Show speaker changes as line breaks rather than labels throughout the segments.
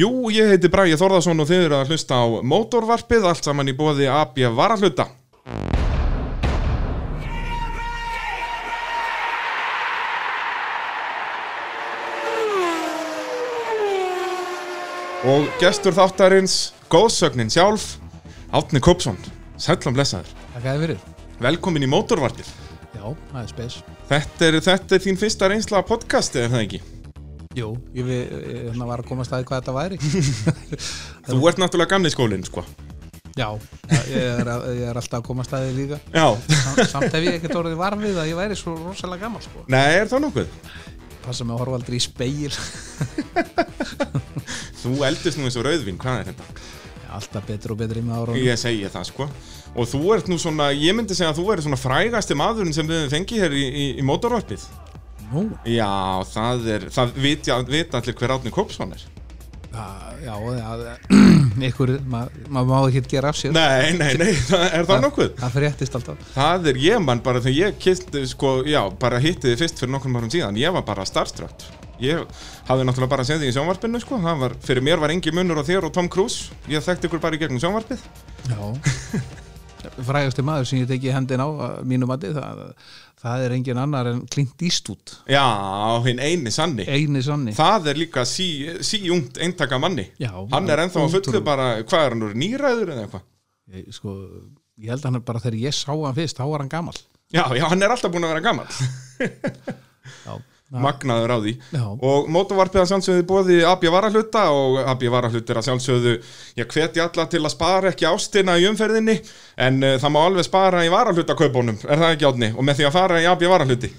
Jú, ég heiti Bragi Þórðarsson og þið eru að hlusta á mótorvarpið, allt saman í bóði AB Varahluta. Og gestur þáttarins, góðsögnin sjálf, Átni Kópsson, sælum blessaður.
Takk að þið verið.
Velkomin í mótorvarpið.
Já, það er spes.
Þetta er, þetta er þín fyrsta reynsla af podcasti, er það ekki?
Jú, ég við, ég, hérna var að koma að staði hvað þetta væri.
Þú ert náttúrulega gamli skólinn, sko.
Já, ég er, að- ég er alltaf að koma að staði líka.
Já,
Sam- Samt hef ég ekkert orðið varm við að ég væri svo rosalega gammal, sko.
nei, er það nokkuð?
Passa mig að horfa aldrei í speil.
Þú eldist nú eins og rauðvin, hvað er þetta?
Alltaf betur og betur í með ára.
Ég segi það sko Og þú ert nú svona, ég myndi segja að þú ert svona frægasti maðurinn sem við höfum fengið hér í, í, í mótorvarpið
Nú,
Já, það er, það vit, já, vit allir hver Átni Kópsson er
að, já, það, ykkur, maður ma má ekki gera af sér.
Nei, nei, nei, það, er það nokkuð?
Það fréttist alltaf.
Það er ég mann bara þegar ég kynnt, sko, já, bara hitti þið fyrst fyrir nokkrum árum síðan Ég var bara starstruck Ég hafði náttúrulega bara séð þig í sjónvarpinu, sko Það var, fyrir mér var engin munur á þér og Tom Cruise Ég þekkti ykkur bara í gegnum sjónvarpið
Já. Frægasti maður sem ég tekið hendin á að mínu mati, það, það er engin annar en Clint Eastwood,
Já, hinn eini sanni
eini sonni.
Það er líka sí- síjungt eintaka manni
Já,
Hann er ennþá að fullu
ótrúlega.
bara, hvað er hann úr nýræður eða eitthvað?
ég, sko, ég held að hann er bara þegar ég sá hann fyrst, þá var hann gammal
Já, já, hann er alltaf búin að vera gammal
já,
Magnaður á því
Já.
Og mótavarpið að sjálfsögðu bóði AB Varahluta og AB Varahluta er að sjálfsögðu Já, hvetja alla til að spara ekki ástina í umferðinni En uh, það má alveg spara í Varahluta kaupunum Er það ekki átni? Og með því að fara í AB Varahluti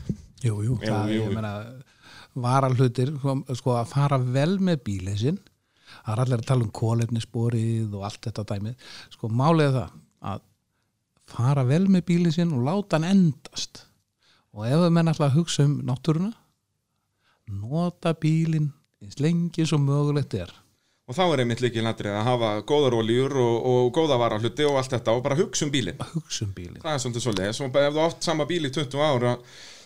jú, jú, það,
jú,
ég
jú.
meina varalhutir, sko að fara vel með bílinn sinn það er allir að tala um kólefnisborið og allt þetta dæmið, sko málið er það að fara vel með bílinn sinn og láta hann endast og ef við menn alltaf að hugsa um náttúruna nota bílinn eins lengi svo mögulegt er
Og þá er einmitt líki landrið að hafa góðar olíur og, og góða varahluti og allt þetta og bara hugsa um bílinn
að hugsa um bílinn
Það er svolítið svolítið, og ef þú átt sama bíl í 20 ára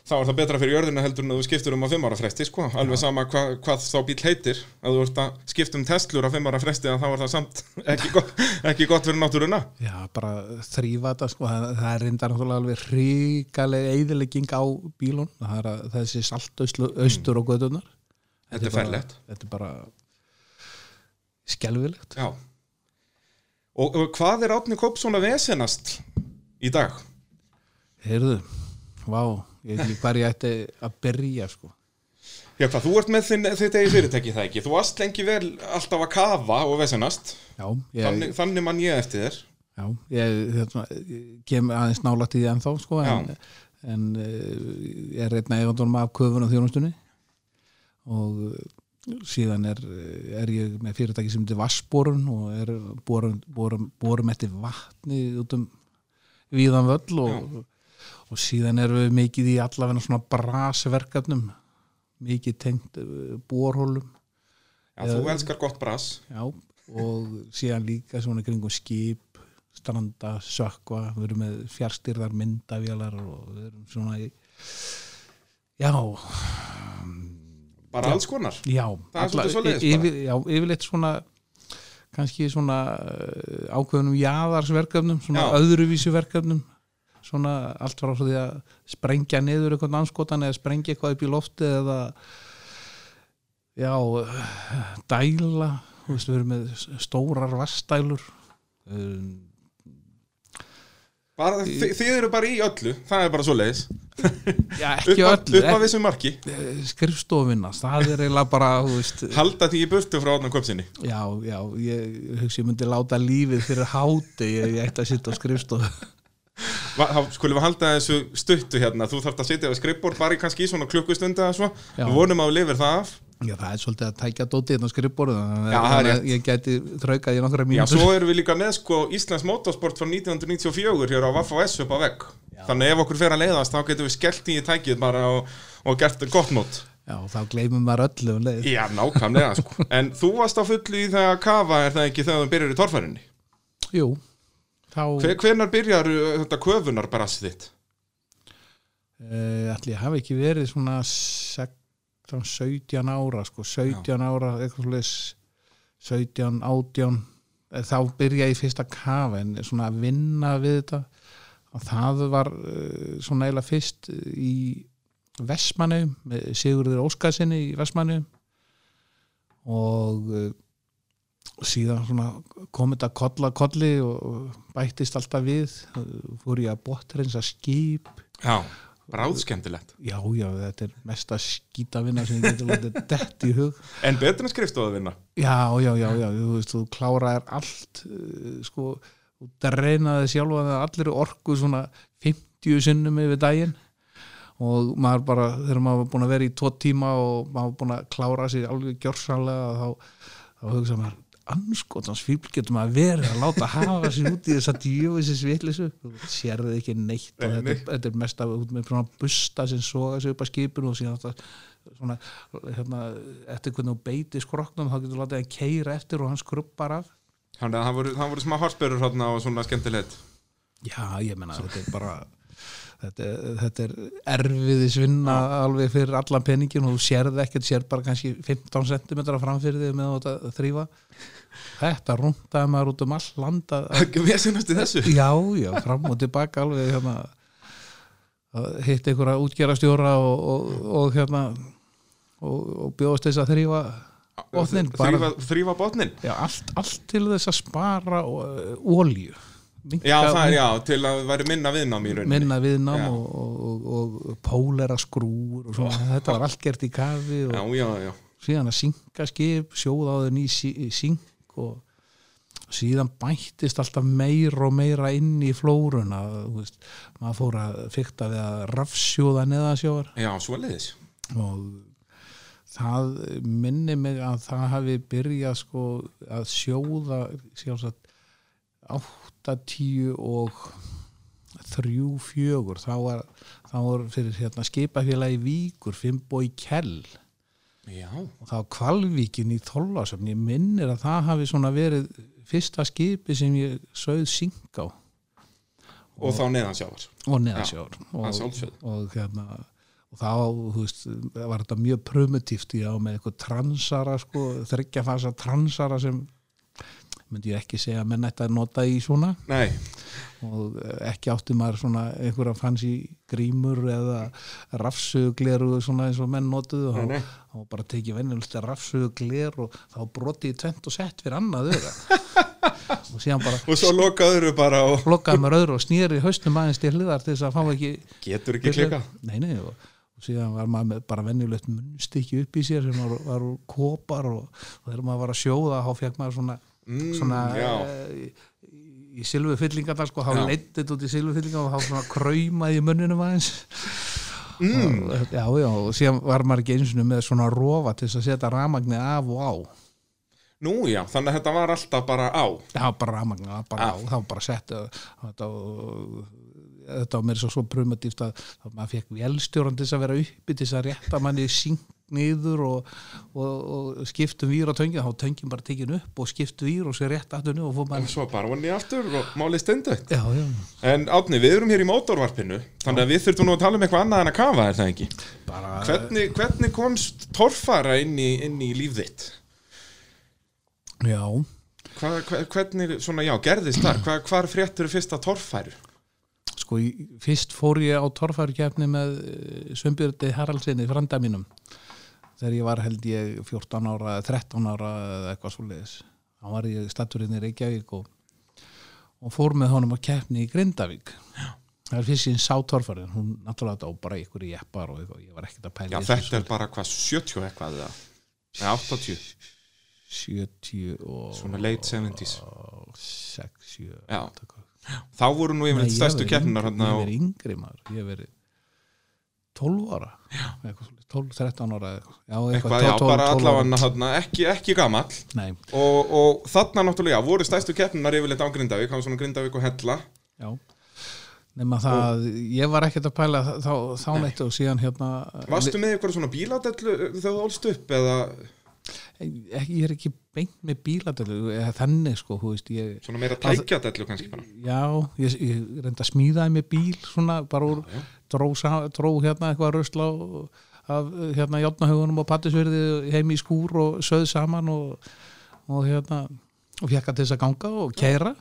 þá er það betra fyrir jörðina heldur en að þú skiptur um að 5 ára fresti, sko, alveg sama hva, hvað þá bíl heitir, ef þú ert að skipta um Teslur að 5 ára fresti þá er það samt ekki, gott, ekki gott fyrir náttúruna.
Já, bara þrýfa þetta sko, það, það er reyndar náttúrulega alveg ríkalega eyðilegging á bílun, það er að þessi saltaustur austur og gödunar.
Mm. Þetta er ferlegt.
Þetta er bara skelvilegt.
Já. Og, og hvað er Átni Kópsson að vesenast í dag?
Heyrðu, vá, ég veit ekki hvað ég ætti að byrja sko.
Já, hvað, Hérna, þú ert með þinn, þitt eigi fyrirtæki það ekki, þú varst lengi vel alltaf að kafa og vesenast,
Já, ég,
þannig, þannig mann ég eftir þér.
já, ég, þetta, ég kem aðeins nálætt í því ennþá sko, en,
Já.
en eh, ég er einn eigandunum af köfunum þjónustunni og eh, síðan er, eh, er ég með fyrirtæki sem heitir Vassborun og er borum, borum, borum eftir vatni út um víðan völl og, og síðan erum við mikið í allavega svona brasverkefnum mikið tengt eh, borholum
Já, þú elskar gott brass.
Já, og síðan líka svona kringum skip, stranda, sökva, við erum með fjárstyrðar myndavélar og við erum svona í... Já,
Bara alls konar.
já.
Það er svolítið svoleiðis bara.
yfir, Já, yfirleitt svona kannski svona eh, ákveðnum jaðarsverkefnum, svona
Já.
öðruvísu verkefnum svona allt frá því að sprengja niður eitthvað anskotan eða sprengja eitthvað upp í lofti eða já dæla, þú veist við erum með stórar vastdælur um,
Bara, þi þið eru bara í öllu, það er bara svo leiðis
já ekki
upp,
öllu eh.
upp að vissu marki,
ekki- skrifstofinna, það er eiginlega bara þú veist,
halda því í burtu frá Átna Köpsinni
já, já, ég hugsi ég myndi láta lífið fyrir háti ég, ég ætti að sitta á skrifstofu
þá skulum við halda þessu stuttu hérna þú þarft að sitja við skrippbord bara í kannski í svona klukkustund eða svo,
Já.
við vonum að þú lifir það af
Já, það er svolítið að tækja dótið hérna á skrifborðu þannig
Já,
að-
það er
þannig að ég gæti þraukað í nokkra
Já,
mínútur
svo erum við líka með sko Íslands motorsport frá 1994 hér á Vaffa S upp á vegg þannig að ef okkur fer að leiðast þá getum við skellt í tækið bara og, og gert gott mót
Já, þá gleymum maður öllu um leið
Já, nákvæmlega sko en þú varst á fullu í það að kafa er það ekki þegar þú byrjar í torfærinni
Jú, þá Hver...
Hvernar byrjar uh, þetta köfunarbrass þitt?
Eh, ætli ég hafi ekki verið svona 16, 17 ára sko, 17 ára eitthvað svolítið 17, 18 eh, þá byrja ég fyrst að kafa en svona að vinna við þetta og það var eh, svona eiginlega fyrst eh, í Vestmannu með Sigurður Óskarsinni í Vestmannu og eh, síðan svona kom þetta kolla kolli og bættist alltaf við Eh, fór ég að bóttreinsa skip
já, bráðskemmtilegt
já, já, þetta er mesta skítavinna sem ég getur látið dett í hug
en betur en skrifstofaðvinna
já, já, já, já, þú veist, þú kláraðir allt eh, sko, þú dreinaði sjálfa það allir orku svona 50 sinnum yfir daginn og maður bara, þegar maður var búin að vera í tvo tíma og maður var búin að klára sig alveg gjörsalega þá, þá hugsa maður anskotans fíbl getur maður verið að láta hafa sér út í þess að djöfu þessi svitlisu, þú sérði ekki neitt og
Nei,
þetta, er- þetta er mest að út með svona busta sem soga sig upp að skipinu og síðan þetta svona, hérna, eftir hvernig þú beitir skroknum þá getur þú látið að keira eftir og hann skrubbar af
þannig að það voru, það voru smá hálsbörur hérna og svona skemmtilegt
já, ég menna, þetta er bara þetta, er- þetta er erfiðis vinna alveg fyrir allan peningin og þú sérð ekkert, sér bara kannski 15 cm framfyrir þig með þetta þrýfa þetta rúndaði maður út um all landa
við sinnast í þessu
já, já, fram og tilbaka alveg hérna að hitta einhverja útgerastjóra og, og, og hérna og, og bjóðast þess að þrýfa botnin, bara-
þrýfa, þrýfa botnin
Já, allt, allt til þess að spara uh, ólju
já, það er já, til að það væri minna viðnám í rauninni
minna viðnám
Já.
og, og, og, og pólera skrúur og svona, þetta var allt gert í kafi og
já, já, já,
síðan að synka skip sjóða á þau ný sí- sink og síðan bættist alltaf meira og meira inn í flóruna þú veist, maður fór að fykta við að rafsjóða neðansjóðar
já, svoleiðis
og það minni mig að það hafi byrjað sko að sjóða sjálfsagt 80 og 3, 4 þá var, þá var fyrir hérna skipafélagi Víkur, Fimboi Kell
já,
og það var Kvalvíkin í Þólasöfn ég minnir að það hafi svona verið fyrsta skipi sem ég sögð syng á
og þá neðansjávar
og neðansjór
að
og,
sjálfsögðu.
og hérna og þá, þú veist, var þetta mjög primitíft ég á með eitthvað transara sko, þryggja fasa transara sem myndi ég ekki segja að menn ætti að nota í svona
nei,
og ekki átti maður svona einhverja fanns í grímur eða rafsugleru svona eins og menn notuðu
Nei, nei.
og, og bara tekið venjulegt rafsugler og þá brotið í tvent og sett fyrir annað auga og síðan bara
og svo lokaður bara og
flokkaði maður öðru og snýri haustum aðeins til hliðar til þess að fá ekki
getur ekki klika
Nei, nei, og, og síðan var maður með bara venjulegt munnstykki upp í sér sem var, var úr kopar og, og þegar maður var að sjóða þá fekk maður svona,
Mm,
svona
já.
eh, í, í silfufyllingarna sko,
Já.
þá leitt þetta út í silfufyllingarna og þá svona kraumaði í munninum aðeins mm. og, Já, já, og síðan var maður ekki eins og með svona rofa til þess að setja rafmagnið af og á
nú já, þannig að þetta var alltaf bara á
það var bara rafmagnið, það var bara á það var bara sett eh, þetta, og- þetta var mér svo, svo prumatíft að, að maður fekk velstjóran til þess að vera uppi til þess að rétta manni syng niður og, og, og skiptum vír á töngin, þá töngjum bara tekin upp og skiptum vír og sér rétt aftur nú og fór
og
maður
svo bara vonni aftur og málið stendögt
Já, já,
En Átni, við erum hér í mótorvarpinu þannig að við þurfum nú að tala um eitthvað annað en að kafa er það ekki
bara
Hvernig, hvernig komst torfara inn í, inn í líf þitt?
Já,
Hva, hva, hvernig, svona, já, gerðist þar hva, hvar fréttur fyrst að torfæru?
sko, í- fyrst fór ég á torfærkefni með eh, Svömbjördi Haraldsinni, franda mínum þegar ég var held ég 14 ára, eða 13 ára eða eitthvað svoleiðis þá var ég statturinn í Reykjavík og, og fór með honum að keppni í Grindavík það er fyrst síðan sá torfærin hún náttúrulega þetta á bara ykkur í eppar og eitthvað, ég var ekkert
Já,
að pæla í þessu
þetta er bara hvað, 70 eitthvað eða Nei, 80,
70 og
svona late 70s
6, 7
Já.
eitthvað.
Þá voru nú
Nei,
yfirleitt
ég
stærstu
verið
keppnunar
yngri-
hérna
Ég
og
verið yngri maður, ég verið 12 ára eitthvað svoleiðis, 12, 13 ára eða eitthvað. Já,
eitthvað, já,
12, 12
bara
ára.
allavega hérna, ekki, ekki gamall
Nei,
og, og þarna náttúrulega, já, voru stærstu keppnunar yfirleitt á Grindavík, hann svona Grindavík og Hella
já nema það, ég var ekkert að pæla þá- þá, þá neitt og síðan hérna
Varstu með eitthvað svona bíladellu uh, þegar þú ólst upp eða
eh, ekki, ég er ekki beint með bíladölu eða þannig sko, þú veist ég,
svona meira tækjadellu kannski bara?
já, ég, ég reynda að smíðaði með bíl svona, bara úr dró, sa- dró hérna eitthvað rusla af hérna játnahaugunum og pattisverði heim í skúr og söð saman og, og hérna og fekk að til þess að ganga og kæra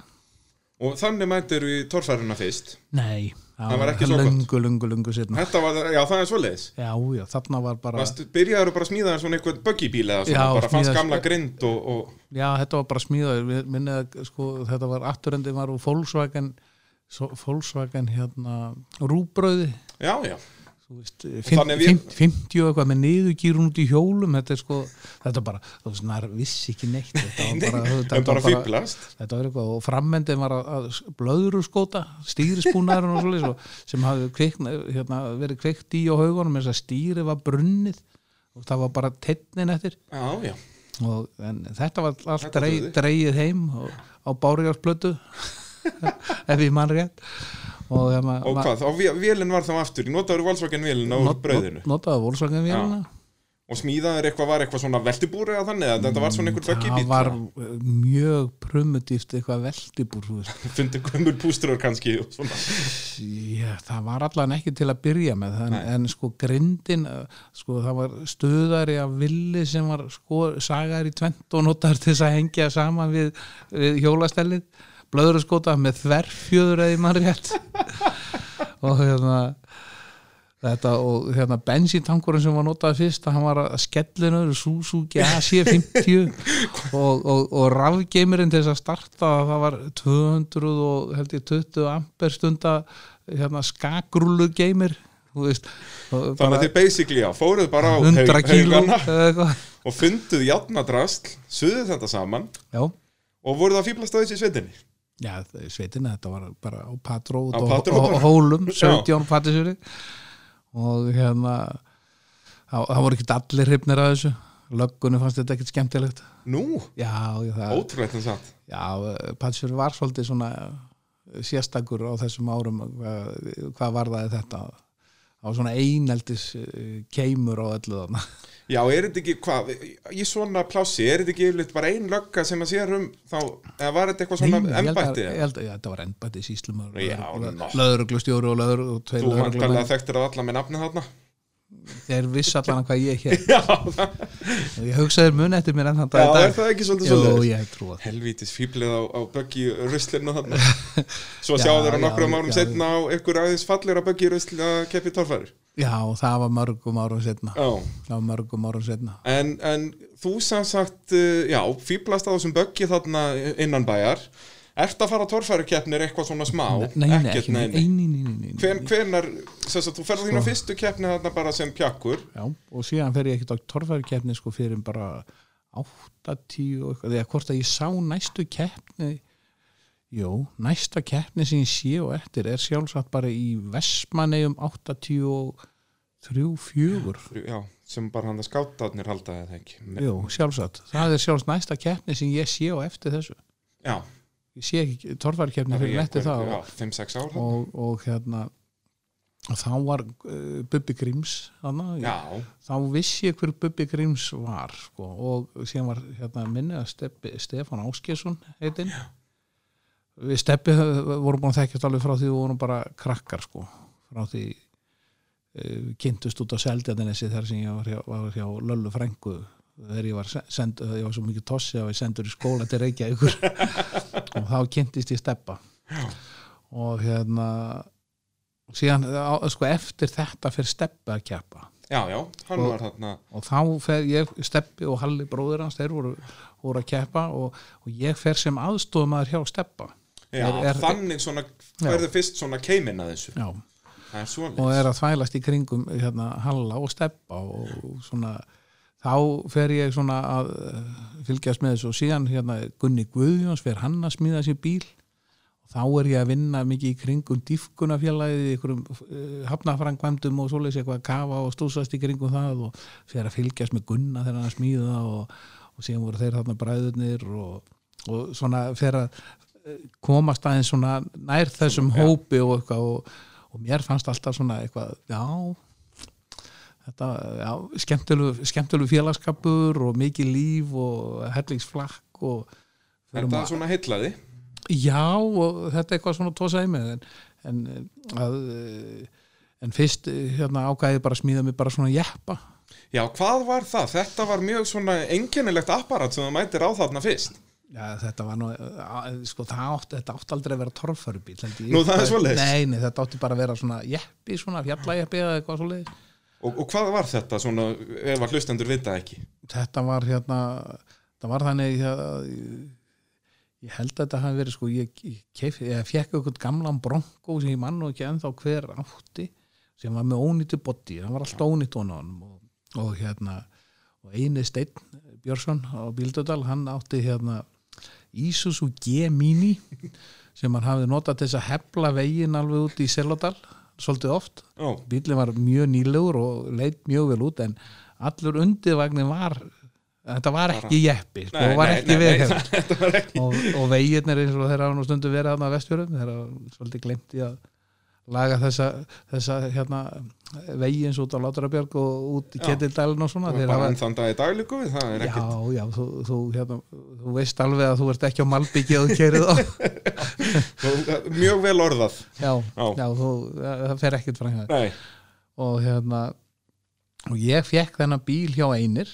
Og þannig mættir við torfæruna fyrst
nei,
Það var ekki svo gott.
löngu, löngu, löngu setna
Þetta var, já það er svoleiðis
já, já, þarna var bara
Vast, Byrjaður bara að smíða þér svona einhvern böggibíl eða svona,
Já,
bara fannst
smíða-
gamla grind og, og
já, þetta var bara smíðað Við- minnið að sko, þetta var afturendin var úr Volkswagen so- Volkswagen hérna rúbröði
já, já,
þú veist, 50,
þannig við-
50 og eitthvað með niðurgýrun út í hjólum þetta er sko, þetta er bara, þú veist, nær vissi ekki neitt þetta var bara, þetta
en bara
var bara
fýblast
þetta var eitthvað og frammendin var að, að blöðuru skóta, stýrispúnaðurinn og svoleiðis og sem hafði kvikna, hérna, verið kveikt í á haugunum þess að stýri var brunnið og það var bara teitnin eftir
Já, já,
og, en þetta var allt
Þetta
dreig,
dugði.
dreigið heim og, á bárjársplötu ef ég mann rétt og, hérna,
og hvað, og vé- vélinn var þá aftur Notaður Volkswagen vélinn á
not-
brauðinu
not- notaði Volkswagen vélina
Og smíðaður eitthvað var eitthvað svona veltibúr eða þannig að þetta var svona einhver
það
böggibíl
var mjög prumutíft eitthvað veldibúr þú veist.
Fundi gömur pústrur kannski og svona
Já, það var allan ekki til að byrja með en, en sko grindin eh, sko, það var stöðari af villi sem var sko, sagar í tvent og notar til þess að hengja saman við, við hjólastellið blöðurskóta með þverfjöður eða í mann rétt og hérna þetta og hérna bensíntankurinn sem var notað fyrst hann var að skellinu Suzuki AC50 og, og, og rafgeimirinn til þess að starta það var 200 og held ég 20 amper stunda hérna skakrúlu geimir þú veist og
Þannig að þið basically, já, fóruð bara á
100
haug-
kíló
haugana
eða eitthvað.
og funduð játnadrasl, suðuð þetta saman
já,
og voruð að fýblast á þessu í sveitinni
já sveitina þetta var bara á patró
Á
og
patró
og-
bara.
og hólum
Já.
17 patisuri og hérna það, það voru ekki allir hrifnir að þessu löggunni fannst þetta ekkert skemmtilegt
Nú,
já, já, það,
ótrúlegt en satt
já Patsur var svolítið svona sérstakur á þessum árum hvað, hvað var það þetta á svona eineldis eh, keimur á öllu þarna
Já, er þetta ekki, hvað, í svona plássi er þetta ekki yfirleitt bara ein lögga sem að sér um þá, eða var þetta eitthvað
Nei,
svona
ég held að-
embætti?
ég held að- Já, þetta var embætti síslum
Já, nokk.
löðruglustjóri og löður og tveir
Þú vantarlega
löðruglumenn
þekktir að alla með nafni þarna
þeir viss allan hvað ég hér
Já, það,
og ég hugsaði mun eftir mér enn þann
já,
dag í
er
dag.
það ekki svolítið
Jú,
svolítið?
ég trúa það
Helvítis fýblið á, á böggi ruslinu þarna Svo
Já,
sjáðu þeirra
já,
nokkrum
já.
árum setna á ykkur aðeins fallir á böggi rusli að keppi torfæri
Já, það var mörgum árum setna
Já,
það var mörgum árum setna
en, en þú sem sagt, uh, já, fýblast á þessum böggi þarna innan bæjar Ert að fara á torfæri keppnir eitthvað svona smá?
Nei, nei,
Ekkert,
ekki, nei, nei, nei, nei, nei.
Hven, hvenar, sem sagt, þú ferð þín á
Sko.
fyrstu keppni þarna bara sem pjakkur
Já, og síðan fer ég ekkert á torfærukeppni sko fyrir bara 8-10 og eitthvað, eða hvort að ég sá næstu keppni Jó, næsta keppni sem ég sé og eftir er sjálfsagt bara í Vestmanneum 83-4
já, sem bara hann að skátaðnir halda eða ekki
Jó, sjálfsagt, það er sjálfs næsta keppni sem ég sé og eftir þessu
já,
Ég sé ekki torfærukeppni fyrir eftir það og,
5-6 ár og,
og, og hérna og þá var uh, Bubbi Gríms hana,
já,
þá vissi ég hver Bubbi Gríms var sko, og síðan var hérna minni að Steppi, Stefán Áskjesson heitinn við Steppi höfðu- vorum búin að þekkjast alveg frá því við vorum bara krakkar sko, frá því uh, kynntust út á seldjarnessi þar sem ég var hjá, var hjá Löllu Frængu þegar ég var, se- send, ég var svo mikið tossi að ég sendur í skóla til Reykjavíkur og þá kynntist ég Steppa og hérna síðan á, sko, eftir þetta fyrir Steppa að keppa
já, já, hann
Og-
var þarna
og þá fer ég, Steppi og Halli bróðir hans, þeir voru, voru að keppa og, og ég fer sem aðstofumæður hjá Steppa
já,
Er- er-
þannig svona, verður fyrst svona keimin að þessu,
Já.
það er
og
svona
er að þvælast í kringum hérna, Halla og Steppa og svona þá fer ég svona að eh, fylgjast með þessu og síðan hérna Gunni Guðjóns fer hann að smíða sér bíl þá er ég að vinna mikið í kringum dýfkunafélagið, í einhverjum uh, hafnafrangvæmdum og svoleiðis eitthvað að kafa og stúsast í kringum það og fyrir að fylgjast með Gunna þegar hann er að smíða og, og síðan voru þeir þarna bræðurnir og, og svona fyrir að eh, komast aðeins svona nær þessum hópi og eitthvað og, og mér fannst alltaf svona eitthvað, já þetta, já, skemmtilegu, skemmtilegu félagskapur og mikið líf og hellingsflakk og
þetta er svona heitlaði
Já, og þetta er eitthvað svona tósaði með en, en, eh, að, eh, en fyrst eh, hérna, ágæði bara að smíða mig bara svona jeppa
Já, hvað var það? Þetta var mjög svona einkennilegt apparat sem þú mætir á þarna fyrst.
Já, þetta var nú, að- sko, það átti, þetta átti aldrei að vera torförubíl.
Nú, það er svoleiðis.
Nei, nei, þetta átti bara að vera svona jeppi, svona fjallajeppi eða eitthvað svoleiðis.
Og, og hvað var þetta svona, ef að hlustendur vita ekki?
Þetta var hérna, það var þannig að ég held að þetta hafi verið, sko, ég, ég, keif, ég fekk eitthvað gamlan bronko sem ég mann og ekki ennþá hver átti sem var með ónýttu boddi, það var alltaf ónýtt ofan á honum og, og hérna, og eini steinn Björnsson á Bíldudal, hann átti hérna Isuzu G Mini sem hann hafði notað til þess að hefla veginn alveg út í Selodal svolítið oft,
Ó,
bílinn var mjög nýlegur og leit mjög vel út en allur undirvagnin var þetta var ekki jeppi sko, og var ekki veghefð
þetta var ekki.
og, og veginnir eins og þeir hafa nú stundu verið þarna að vestfjörum, þeir hafa svolítið glemt í að laga þessa, þessa hérna, vegins út á Látrabjörg og út í
Já.
Ketildalinn og svona,
Það
þeir
er bara
hafa
enn þann dag í dag líka við, það er
Já,
ekkert.
já, þú, þú, hérna, þú veist alveg að þú ert ekki á Malbyggi og kerið á
Og- Mjög vel orðað.
Já,
Já.
já, þú, það fer ekkert fram hjá þér.
Nei,
og hérna og ég fekk þennan bíl hjá einir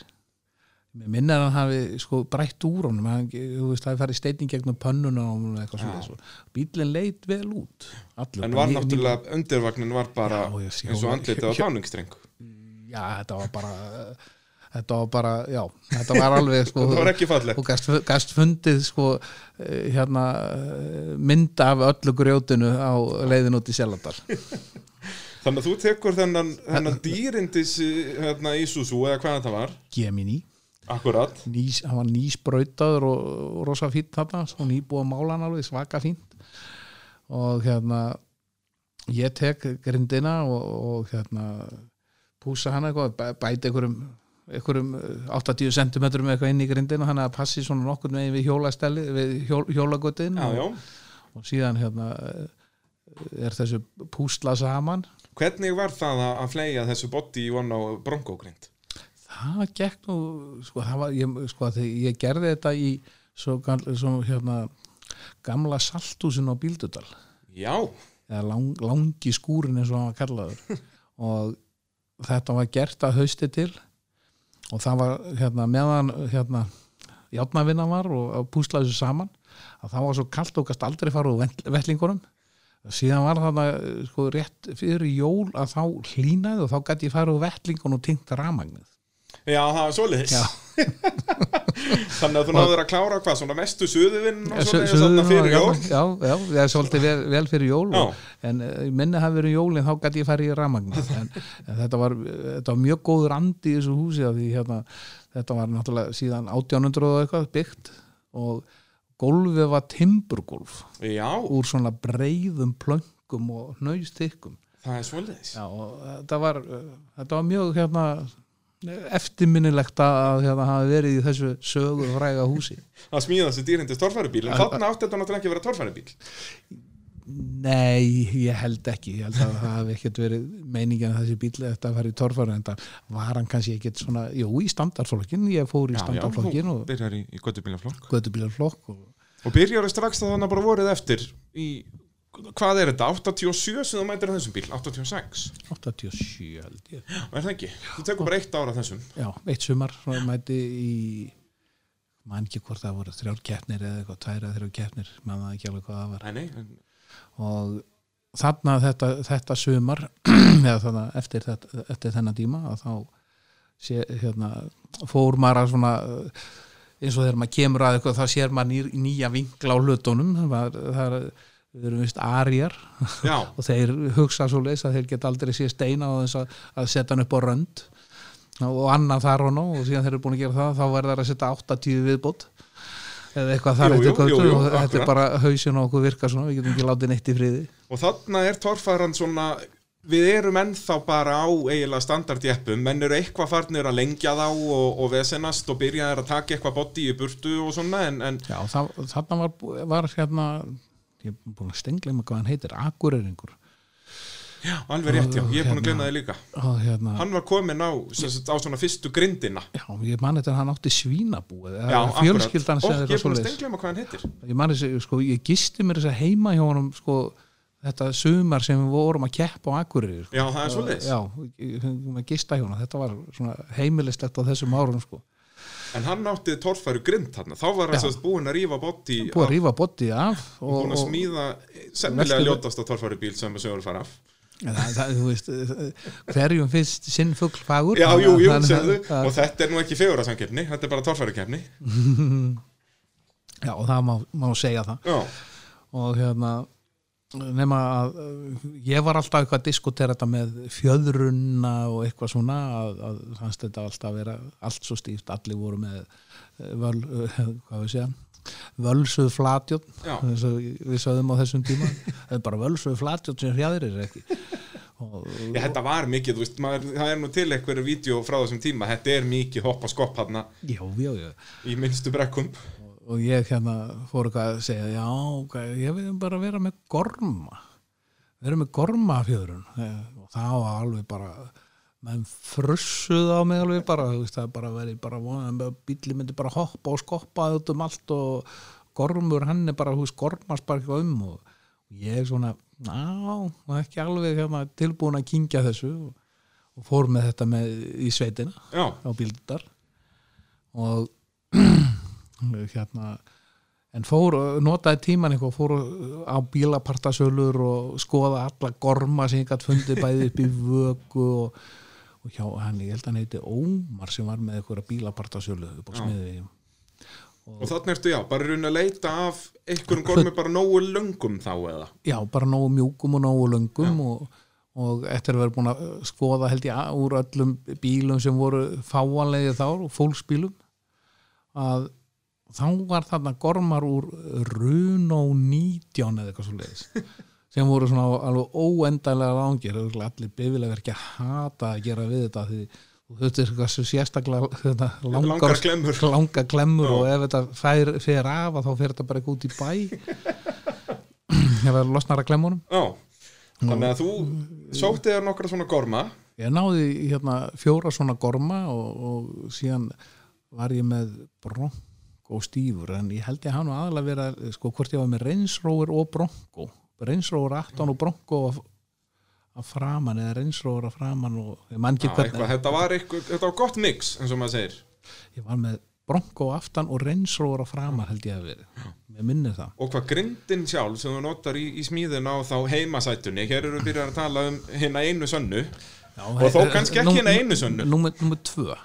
mér minnir að hann hafi sko brætt úr honum hann, þú veist, hafi farið steinning gegnum pönnuna og eitthvað
Já.
svoleiðis og bílinn leit vel út allur,
en
bara
var
ný- ný-
náttúrulega, undirvagnin var bara
Já, ég sé-
eins og andlitið á tánungstreng.
já, þetta var bara þetta var bara, já, þetta var alveg sko,
Það var ekki fallegt.
og gast, gast fundið sko eh, hérna eh, mynd af öllu grjótinu á leiðin út í Selandar
Þannig að þú tekur þennan, þennan dýrindis hérna, Ísusu eða hvað þetta var,
Gemini
akkurat.
nýs, hann var nýsbrautaður og, og rosa fínt þarna og nýbúið að mála hann alveg svaka fínt og hérna ég tek grindina og, og hérna púsa hann eitthvað, bæ- bæti einhverjum einhverjum eh, 80 cm eitthvað inn í grindina þannig að passi svona nokkur megin við hjólastelli við hjól, hjólagutin
Já, já.
og, og síðan hérna eh, er þessu púsla saman
Hvernig var það að að fleia þessu botti í von á bronkógrind?
það gekk nú sko, það var, ég, sko, þegar ég gerði þetta í svo, gal- svo hérna, gamla saltúsin á Bíldudal
Já,
eða lang, langi skúrin eins og hann var kallaður og þetta var gert að hausti til og það var hérna, meðan hérna, játnavinna var og, og púslaði þessu saman að það var svo kalt og gast aldrei fara úr vell- vellingunum síðan var þarna eh, sko, rétt fyrir jól að þá hlýnaði og þá gæti ég fara úr vellingun og tengt ramagnið
já, það var svoleiðis.
Já.
Þannig að þú náður að klára hvað, svona mestu suðuvinn og
Eh, Sö-
svoleiðis þarna
sögðu
fyrir
nú að
jól?
gamla- Já, já, það er svolítið vel, vel fyrir jól
Já.
og, en eh, ég minni hafi verið jól en þá gæti ég farið í ramagna en, en þetta, var, þetta var mjög góður andi í þessu húsi af því hérna, þetta var náttúrulega síðan 1800 og eitthvað byggt og gólfið var timburgólf
Já,
úr svona breiðum plöngum og hnaustykkum
það er svoleiðis.
Já, og þetta var, eh, þetta var mjög hérna, eftirminnilegt að hérna, hafa verið í þessu sögur fræga húsi
Það smíða þessi dýrindis torfæribíl, en
Já,
þarna átti þetta náttúrulega ekki að vera torfæribíl.
Nei, ég held ekki ég held að það hafi ekkert verið meiningin að þessi bíl þetta að fara í torfara en það var hann kannski ekkert svona, jú, í standardflokkin ég fór í standardflokkin
þú
og
byrjar í, í göttubílaflokk.
gödubílarflokk og
Og byrjar strax að þannig bara vorið eftir í, hvað er þetta, 87 sem þú mætir á þessum bíl, 86.
87 held ég
Er það ekki? Þú tekur bara eitt ára þessum.
Já, eitt sumar, svona mæti í mann ekki hvort það voru þrjár keppnir eða eitthvað, tæra þrjár keppnir mann það ekki alveg hvað það var
Nei, nei, en-
og þarna þetta, þetta sumar eða þarna eftir, þetta, eftir þennan tíma að þá sé, hérna, fór maður að svona eh, eins og þegar maður kemur að eitthvað þá sér maður ný, nýja vinkla á hlutunum það, var- það er, við erum vist arjar
já,
og þeir hugsa svo leys að þeir geta aldrei sé steina og þess að, að setja hann upp á rönd og annað þar og nú og síðan þeir eru búin að gera það þá verður það að setja 80 viðbót eða eitthvað þar
Jú,
eftir
jú, jú,
götu
jú,
og þetta
akkurat.
er bara hausin á okkur virka svona, við getum ekki látið neitt í friði
og þarna er torfæran svona við erum ennþá bara á eiginlega standardjeppum, menn eru eitthvað farnir að lengja þá og, og vesenast og byrja þeir að taka eitthvað boddi í burtu og svona en, en
Já, það, þarna var, bú- var hérna ég er búin að stengla með hvað hann heitir Akureyringur
alveg rétt já, ég er búin að gleyna þið líka
og hérna,
hann var komin á, sem sagt, á svona fyrstu grindina
já, ég man þetta að hann átti svínabúið
já,
eða fjölskyldan
og ég
sem
er
þeirra
búin að
svoleiðis
stengla um hvað hann heitir
ég man þess að, sko, ég gisti mér þess að heima hjá honum sko, þetta sumar sem við vorum að keppa á Akureyri sko.
Já, það er svolítið
Já, við fengum að gista hjóna þetta var svona heimilislegt á þessum árum sko.
En hann átti torfæru grind þarna Þá var hann
Já.
svo búin að rífa bótt í
búið að rífa boddi af og,
Búin að
og,
smíða semmilega
Veltu-
ljótasta torfæru bíl sem að sögur fara af
en það, það, þú veist, eh, hverjum finnst sinn fuglfagur
Já, jú, jú,
Þannig að-
segðu
að-
Og þetta er nú ekki fegurarsamkeppni, þetta er bara torfærukefni
Já, og það má, má segja það
Já,
og hérna nema að eh, ég var alltaf eitthvað að diskutera þetta með fjöðrunna og eitthvað svona að, að fannst þetta alltaf að vera allt svo stíft allir voru með eh, völ, eh, hvað við segja völsuð flatjótt
Já.
eins og við sögðum á þessum tíma það er bara völsuð flatjótt sem hrjáðir er ekki og,
ég, þetta var mikið, þú veist, maður, það er nú til einhverju vídeo frá þessum tíma, þetta er mikið hopp og skopp hann
já, já, já
í minnstu brekkum
og ég hérna fór eitthvað að segja já, okay, ég vil bara vera með gorma vera með gorma fjöðrun Eh, og það var alveg bara menn frussuð á mig alveg bara, þú veist, það bara verið bara vona, bíli myndi bara hoppa og skoppa út um allt og gormur hann er bara, þú veist, gormast bara eitthvað um og ég svona, ná, ekki alveg hérna, tilbúin að kingja þessu og, og fór með þetta með í sveitina
Já,
á bíldar og hérna en fór, notaði tíman eitthvað fór á bílapartasölur og skoða alla gorma sem ég gætt fundið bæði upp í vöku og, og hjá hann, ég held að hann heiti Ómar sem var með eitthvað bílapartasölu upp á smiði
og þannig ertu, já, bara raun að leita af einhverjum gormi bara nógu löngum þá eða
já, bara nógu mjúkum og nógu löngum og, og eftir að vera búin að skoða held ég að- úr öllum bílum sem voru fáanlegið þá og fólksbílum að þá var þarna gormar úr Runo 19 eða eitthvað svo leiðis sem voru svona alveg óendanlega langir örugglega allir bifilega verið ekki að hata að gera við þetta því þú þurftir eitthvað svo sérstaklega þetta, langar,
Langar glemmur.
langar glemmur og ef þetta fær, fer af að þá fer þetta bara eitthvað út í bæ ef það losnar að glemmunum
Já, þannig að þú sótti þér nokkra svona gorma
Ég náði í, hérna fjóra svona gorma og, og síðan var ég með bronko stífur en ég held ég hann var aðalega vera sko hvort ég var með reynsróur og bronko reynsróur aftan og bronko að, að framan eða reynsróur að framan og ég man
Já,
ekki
eitthvað,
hvernig
þetta var eitthvað, þetta var gott mix eins og maður segir,
ég var með bronko aftan og reynsróur að framan held ég að verið ég minni það
og hvað grindin sjálf sem þú notar í, í smíðin á þá heimasætunni, hér eru við byrjað að tala um hérna einu sönnu
Já,
Og þó kannski ekki
nú-
hina einu sönnu.
Númer númer tvö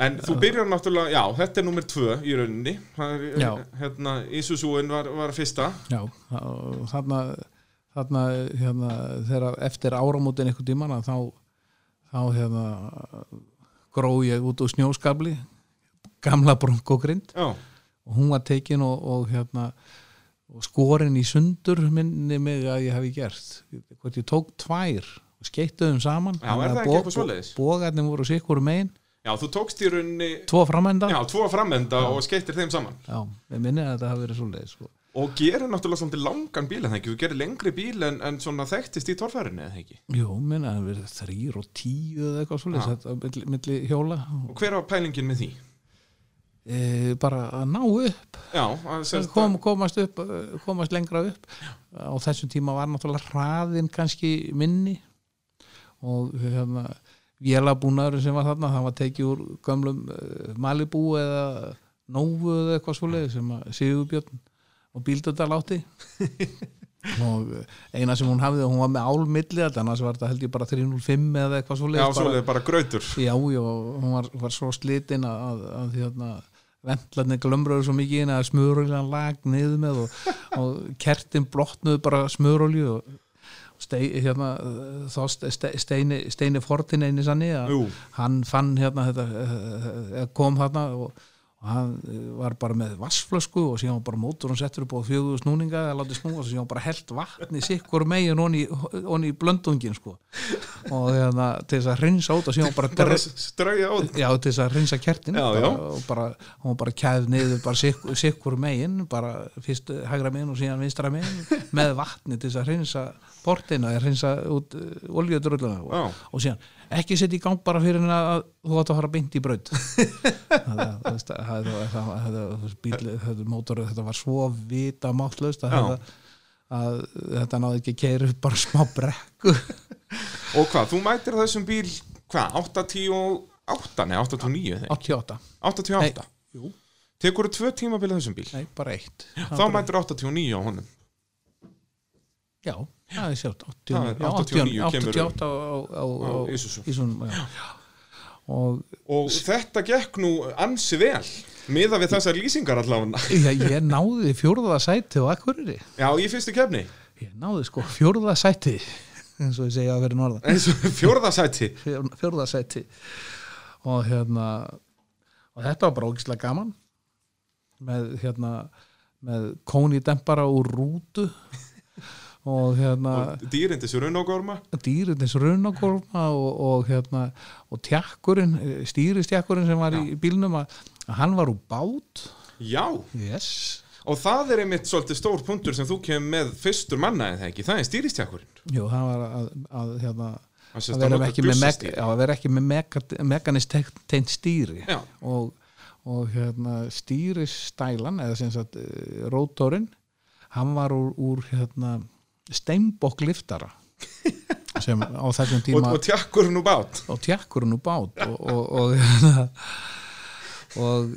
En þú byrjar náttúrulega, já, þetta er nummer tvö í rauninni Það er,
Já.
Hérna, Isuzuin var, var fyrsta
Já, og þarna, þarna hérna, þegar eftir áramótin einhvern tíman þá, þá hérna, gró ég út úr snjóskabli gamla bronkogrind
Já,
og hún var tekin og, og, hérna, og skorin í sundur minni mig að ég hafi gert hvort ég tók tvær og skeittuðum saman
Já, er það ekki eitthvað svoleiðis?
Bógarnir voru sikkur megin,
já þú tókst í rauninni
tvo framenda
Já, tvo framenda og skeittir þeim saman
Já, ég minni að þetta hafi verið svoleiðis sko.
Og gerir náttúrulega svolítið langan bíl en það ekki, þú gerir lengri bíl en, en svona þekktist í torfærinu eða ekki
Jú, minna að verið þrýr og tíu eða eitthvað svoleiðis,
Já.
þetta milli, milli hjóla
Og hver var pælingin með því?
e, bara að ná upp
Já, að semst
kom, komast upp eh, komast lengra upp á þessum tíma var náttúrulega hraðin kannski minni og hérna vélabúnaður sem var þarna, það var tekið úr gömlum eh, Malibu eða Nóvu eða eitthvað svoleiðis sem að Sigurbjörn og Bíldardal átti og eh, eina sem hún hafði, hún var með álmilli annars var þetta held ég bara 305 eða eitthvað
Já,
svoleiðis bara-
svolítið bara grautur
Já, já, hún var, var svo slitin að, að, að hérna vendlarnir glömröður svo mikið inn að smuruljan lag niður með og, og kertin blotnuðu bara smurulju og stei, hérna, eh, þá ste- ste- steini, steini fortin einu sannig að
Jú.
hann fann hérna þetta, eh, eh, kom þarna og, og hann eh, var bara með vassflösku og síðan var bara mótur hann settur upp á fjögur snúninga eða látið snúa og síðan var bara held vatni sikkur megin onni í blöndungin sko og hérna til þess að hreinsa út og síðan var bara
Bara strauja á því
Já, til þess að rinsa kertin
Já,
bara,
já.
og bara, hún var bara kæð niður bara sikkur, sikkur megin bara fyrst eh, hægra megin og síðan vinstra megin með vatni til þess að rinsa portina, eða rinsa út uh, oljöðdrulluna
Já.
og, og síðan ekki setja í gang bara fyrir henni að þú átt að fara beint í braut það það- þú veist, það- það- það- það- það- bíll- þetta mótor þetta var svo vita máttlust að
Já.
þetta að þetta náði ekki að keira upp bara smá brekku
Og hvað, þú mætir þessum bíl, hvað, 88, nei 89 þegar,
88
88
Jú.
Tekur þú tvö tímabilið þessum bíl
Nei, bara eitt
Þá mætir 89 á honum
Já, það er sjátt
Það
89,
er
já,
89 kemur-
88 á, á, á, á
Á Isuzu.
Ísunum já. Og
Og þetta gekk nú ansi vel Miða við þessar lýsingar allavega
já, ég náði fjórða sæti á Akureyri
Já, í fyrstu kefni
Ég náði sko fjórða sæti eins og ég segja að vera norðan
eins og Fjórðasæti
Fjórða- fjórða sæti og hérna og þetta var bara ógislega gaman með hérna með kóni dempara úr rútu og hérna
Dýrindis runogorma
dýrin eins runagorma og, og hérna og tjakkurinn, eh, stýristjakkurinn sem var í bílnum að, að hann var úr bát
Já,
yes.
og það er einmitt svolítið stór punktur sem þú kemur með fyrstur manna en það ekki, það er stýristjakkurinn
Jú, hann var að, að hérna
Það sést
að
að
vera
nota
ekki með, meg,
byssustýri.
já, að vera ekki með mega, meganist tegnt stýri
Já.
og, og hérna, stýristælan eða sem sagt eh, rótorinn hann var úr, úr hérna, steinbokk liftara sem á þessum
og,
tíma
og tjakkurinn úr bát
og tjakkurinn úr bát og, og, og, hérna, og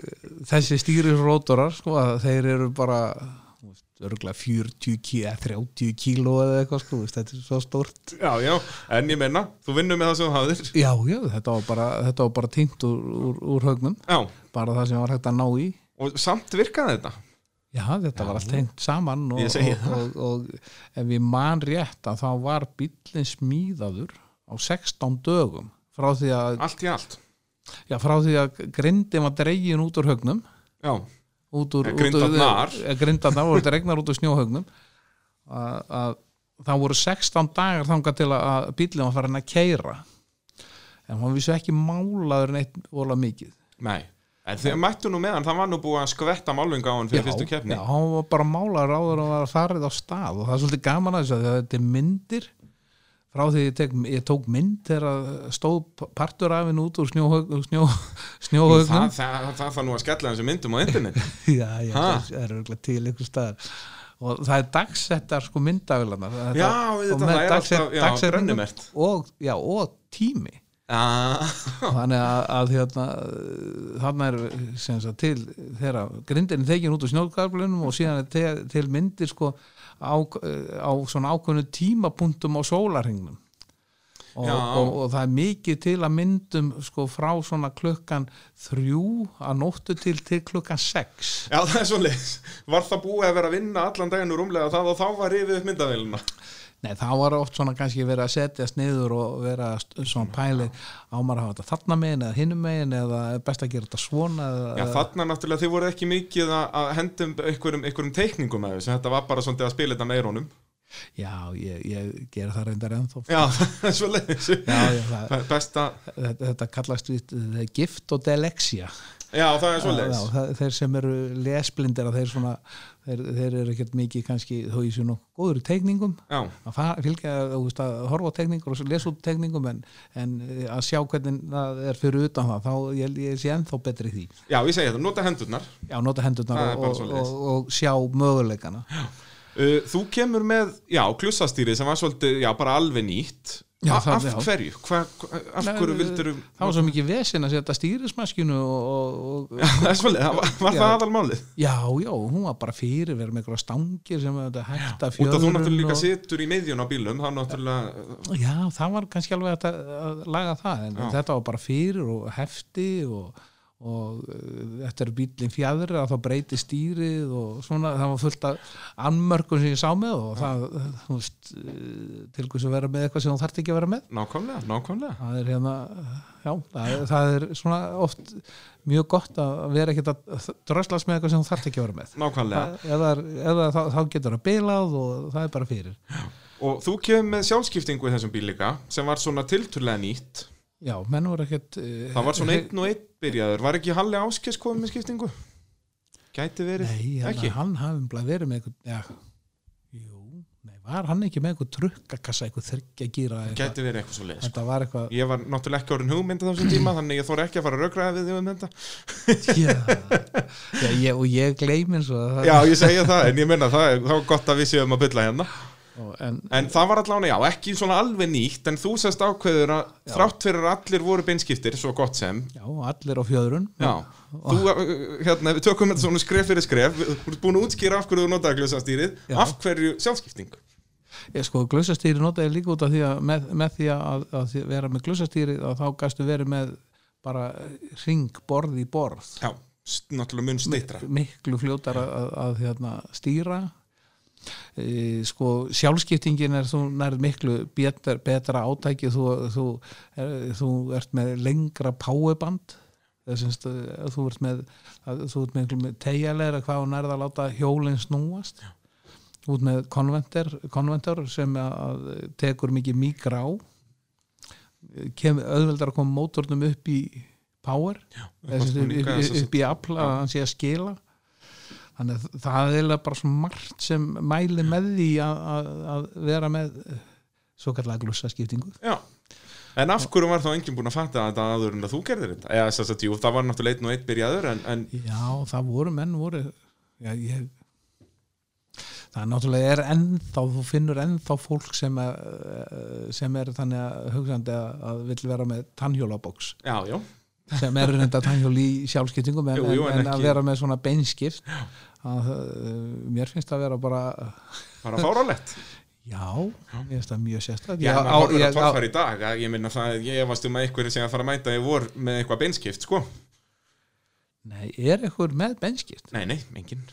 þessi stýrisrótorar sko, að þeir eru bara þú veist, örgulega 40 kíl 30 kíló eða eitthvað sko, þú veist, þetta er svo stórt
Já, já, en ég menna, þú vinnur með það sem þú hafðir
já, já, þetta var bara, þetta var bara týnt úr, úr, úr haugnum,
Já,
bara það sem var hægt að ná í
og samt virkaði þetta
já, þetta var allt tengt saman og,
Ég segi
og, og, og, ef við man rétt að þá var bíllinn smíðaður á 16 dögum frá því að,
Allt í allt
já, frá því að grindin var dregin út úr haugnum
Já,
út úr,
Eh, grindarnar.
út úr, eh, grindarnar og þetta regnar út úr snjóhaugnum að, að það voru 16 dagar þangað til að- að bíllinn var farin að keira en hann vissi ekki málaður neitt vola mikið
nei En þegar mættu nú meðan, það var nú búið að skvetta málunga á hann fyrir fyrstu kefni
já, hann var bara málaður áður og var farið á stað og það er svolítið gaman að þessu að þetta er myndir frá því ég, tek, ég tók mynd þegar að stóð partur af henni út úr snjóhaug, snjó,
það,
snjóhaugnum
það, það, það þarf nú að skella þessu myndum á internet
já, já,
Ha?
það er örgulega til ykkur staðar og það er dagsettar sko myndavilana
Já, auðvitað, það er alltaf- já, brennumert.
og, já, og tími
Já,
þannig að, að hérna, þarna er sem sagt til þeirra grindin þegin út úr snjóðgarflunum og síðan er til, til myndir sko á, á svona ákveðnu tímapunktum á sólarhingnum og,
Já.
og, og það er mikið til að myndum sko frá svona klukkan þrjú að nóttu til til klukkan sex
Já, það er svoleiðis. Var það búið að vera að vinna allan daginn úr umlega það og þá var rifið upp myndavélina.
Nei, það var oft svona kannski verið að setjast niður og vera st- svona pæli á maður að hafa þetta þarna megin eða hinum megin eða er best að gera þetta svona eða,
Já, þarna náttúrulega þið voru ekki mikið að, að hendum einhverjum, einhverjum teikningum að þessu. Þetta var bara svolítið að spila þetta með eirónum.
Já, ég, ég gera það reyndar ennþá
Já, það er svoleiðis.
Já, já, það,
Be- Besta,
þetta, þetta kallast við the gift og delexia
já, það er
Já,
svoleiðis.
það, þeir sem eru lesblindir að þeir, svona, þeir, þeir eru ekkert mikið kannski þó ég sé nú góður í teikningum
Já,
að fa- fylgja, þú veist, að horfa á tekningur og svo lesa út tekningum en, en eh, að sjá hvernig það er fyrir utan það þá ég, ég sé ennþá betri í því
já, ég segi þetta, nota hendurnar.
Já, nota
Það
hendurnar
er
og,
bara
og,
svoleiðis.
og, og sjá möguleikana
Uh, þú kemur með, já, klussastýri sem var svolítið, já, bara alveg nýtt.
Já,
A-
það-
af
já.
hverju? Hva, hva- af
Nei,
hverju
eh,
vildur um...
Það var svo mikið vesinn að setja stýrismaskinu og, og, og
Það er svoleiðis, það var, var
Já.
það aðalmálið?
já, já, hún var bara fyrir verið með einhverja stangir sem þetta hægt að
Út
fjörun
að þú náttúrulega líka
og,
situr í miðjun á bílum, þá náttúrulega
Já, það var kannski alveg hægt að, að laga það en
Já.
þetta var bara fyrir og hefti og og eh, þetta er bílinn fjæður að þá breyti stýrið og svona það var fullt af anmörkum sem ég sá með og það, þú veist eh, til hversu að vera með eitthvað sem þú þarft ekki að vera með
Nákvæmlega, nákvæmlega
það er hérna já, það er, það er svona oft mjög gott að vera ekkert að dröslast með eitthvað sem þú þarft ekki að vera með
Nákvæmlega,
eða, eða þá, þá getur það bilað og það er bara fyrir
og þú kemur með sjálfskiptingu í þessum bíl líka sem var svona tilturlega nýtt
já, menn voru ekkert eh,
það var svona einn og einn byrjaður var ekki Halli Áskes komið með skiptingu? Gæti verið,
nei, hérna,
ekki?
hann hafði bara verið með eitthvað já, jú, Nei, var hann ekki með eitthvað trukkakassa, eitthvað þryggja gíra eitthvað?
Gæti verið eitthvað svo leiðis
Þetta var eitthvað
Ég var náttúrulega ekki orðin hugmynda þessum tíma þannig ég þóra ekki að fara að raukraða við því um þetta
já, já, ég, og ég gleym eins og það
Já, ég segja það, en ég menna það er, þá er gott að við séum að bylla hérna
og, en,
En það var allavega, já, ekki svona alveg nýtt en þú sest ákveður að þrátt fyrir að allir voru beinskiptir, svo gott sem
já, allir á fjöðrun
Já, þú, uh, hérna, ef við tökum þetta svona skref fyrir skref við- Þú ert búin að útskýra af hverju þú notaði glösastýrið
Já.
Af hverju sjálfskipting
ég sko, glössastýri notaði líka út af því að með, með því að, að því vera með glössastýri að þá gastu verið með bara ring borð í borð
Já, st- náttúrulega mun steitra
miklu fljótar að, að, að hérna, stýra e, sko sjálfskiptingin er þú nærð miklu betra, betra átæki þú, þú, er, þú ert með lengra páeband Sinst, e, þú ert með að, þú ert með, með tegjalegra hvað hún er að láta hjólinn snúast út með konventor, konventor sem að, að tekur mikið mígrá kem, auðveldar að koma mótornum upp í power Já, upp,
snúninga,
upp,
sem sagt.
upp í afla að hann sé að skila þannig að það er eiginlega bara svo margt sem mæli með því að, að, að vera með svo kallega glússaskiptingu
Já En af hverju var þá enginn búin að fatta þetta aður en að þú gerðir þetta? Eða þess að jú, það var náttúrulega einn og einn byrjaður en, en
Já, það voru menn voru já, ég, það er náttúrulega er ennþá þú finnur ennþá fólk sem, að, eh, sem er þannig að hugsaðandi að, að vill vera með tannhjólaboks
já, já,
sem er reynda tannhjól í sjálfskiptingum en,
Jú, jú,
en,
en
en að
ekki-
vera með svona beinskipt að, uh, mér finnst það vera bara
bara fáralett
já, mér finnst það mjög sérstæð
Já, maður horfir að torfæra í dag að Ég minna það, ég efast um að einhverju sem að fara að mæta ég vor með eitthvað beinskipt, sko
nei, er eitthvað með beinskipt
Nei, nei, enginn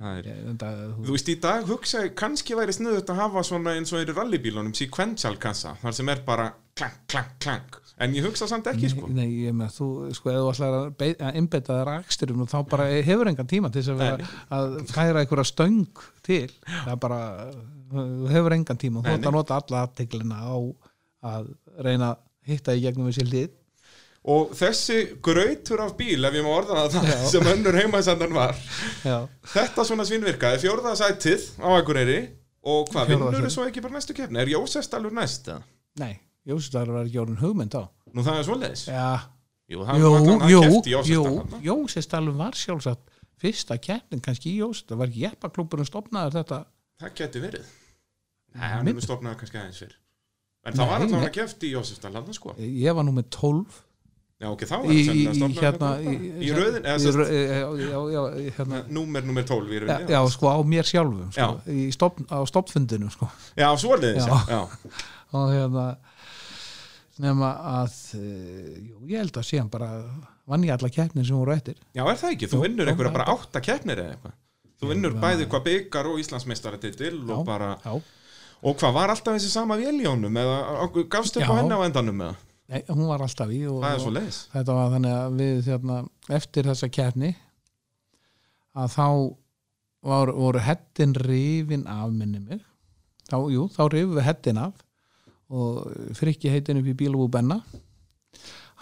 Það er
Ég- þetta,
Þú veist, í dag hugsa ég, kannski væri snuðut að hafa svona eins og er í rallybílunum sequential kassa, þar sem er bara klank, klank, klank, en ég hugsa samt ekki sko.
Nei, ég með þú, sko, ef þú ætlar að bei- að einbetta þér raksturum og þá bara hefur engan tíma til þess að, vera, að færa einhverja stöng til það er bara, þú hefur engan tíma þú
Nei,
ætlar að nota alla afteglina á að reyna að hitta í gegnum þessi hlið
og þessi grautur af bíl, ef ég má orða það það, sem önnur heimaðsendan var
já,
þetta svona svínvirkaði, fjórða sætið á Akureyri, og hvað,
Fjórða
vinnur
sætið.
svo ekki bara næstu kefni? Er Jósest alveg næst? eða?
nei, Jósefsdalur var ekki orðin hugmynd á
Nú það er svoleiðis
já,
Jú,
jú, jú, jú
jú
Jósefsdalur var sjálfsagt fyrsta keppnin kannski í Jósefsdalur, var ekki jeppaklúburinn stopnaður þetta
Það geti verið Nei, hann er
Minn-
nú stofnaði kannski aðeins fyrr En það
Nei,
var
nei.
allavega keft í Jósefsdal, hann sko.
ég var nú með 12
Já, ok, þá var
í,
hann
í,
sennilega
í
stofnaður
hérna
hérna bara. Í röðin, eða sérst,
já, já, já, hérna
númer númer 12 í
Já,
rauninni
já, sko á mér sjálfum sko, í stopn, á stopfundinu sko.
já svoleiðis
Já.
já. sko. Já.
og hérna nema að eh, jú, ég held að síðan bara vann ég alla keppnin sem voru eftir
já, er það ekki, þú
Jú,
vinnur
jú,
einhverja
já.
bara átta keppnir eða eitthvað þú vinnur bæði hvað byggar og Íslandsmeistaratitil og bara,
já.
og hvað var alltaf þessi sama vél í honum eða á- gafst upp
Já.
á henni á endanum eða,
Nei, hún var alltaf í og,
það er
og
svoleiðis
þetta var þannig að við hérna, eftir þessa keppni að þá var, voru hettin rifin af minni mig þá, jú, þá rifum við hettin af og frikki heitin upp í bílabú Benna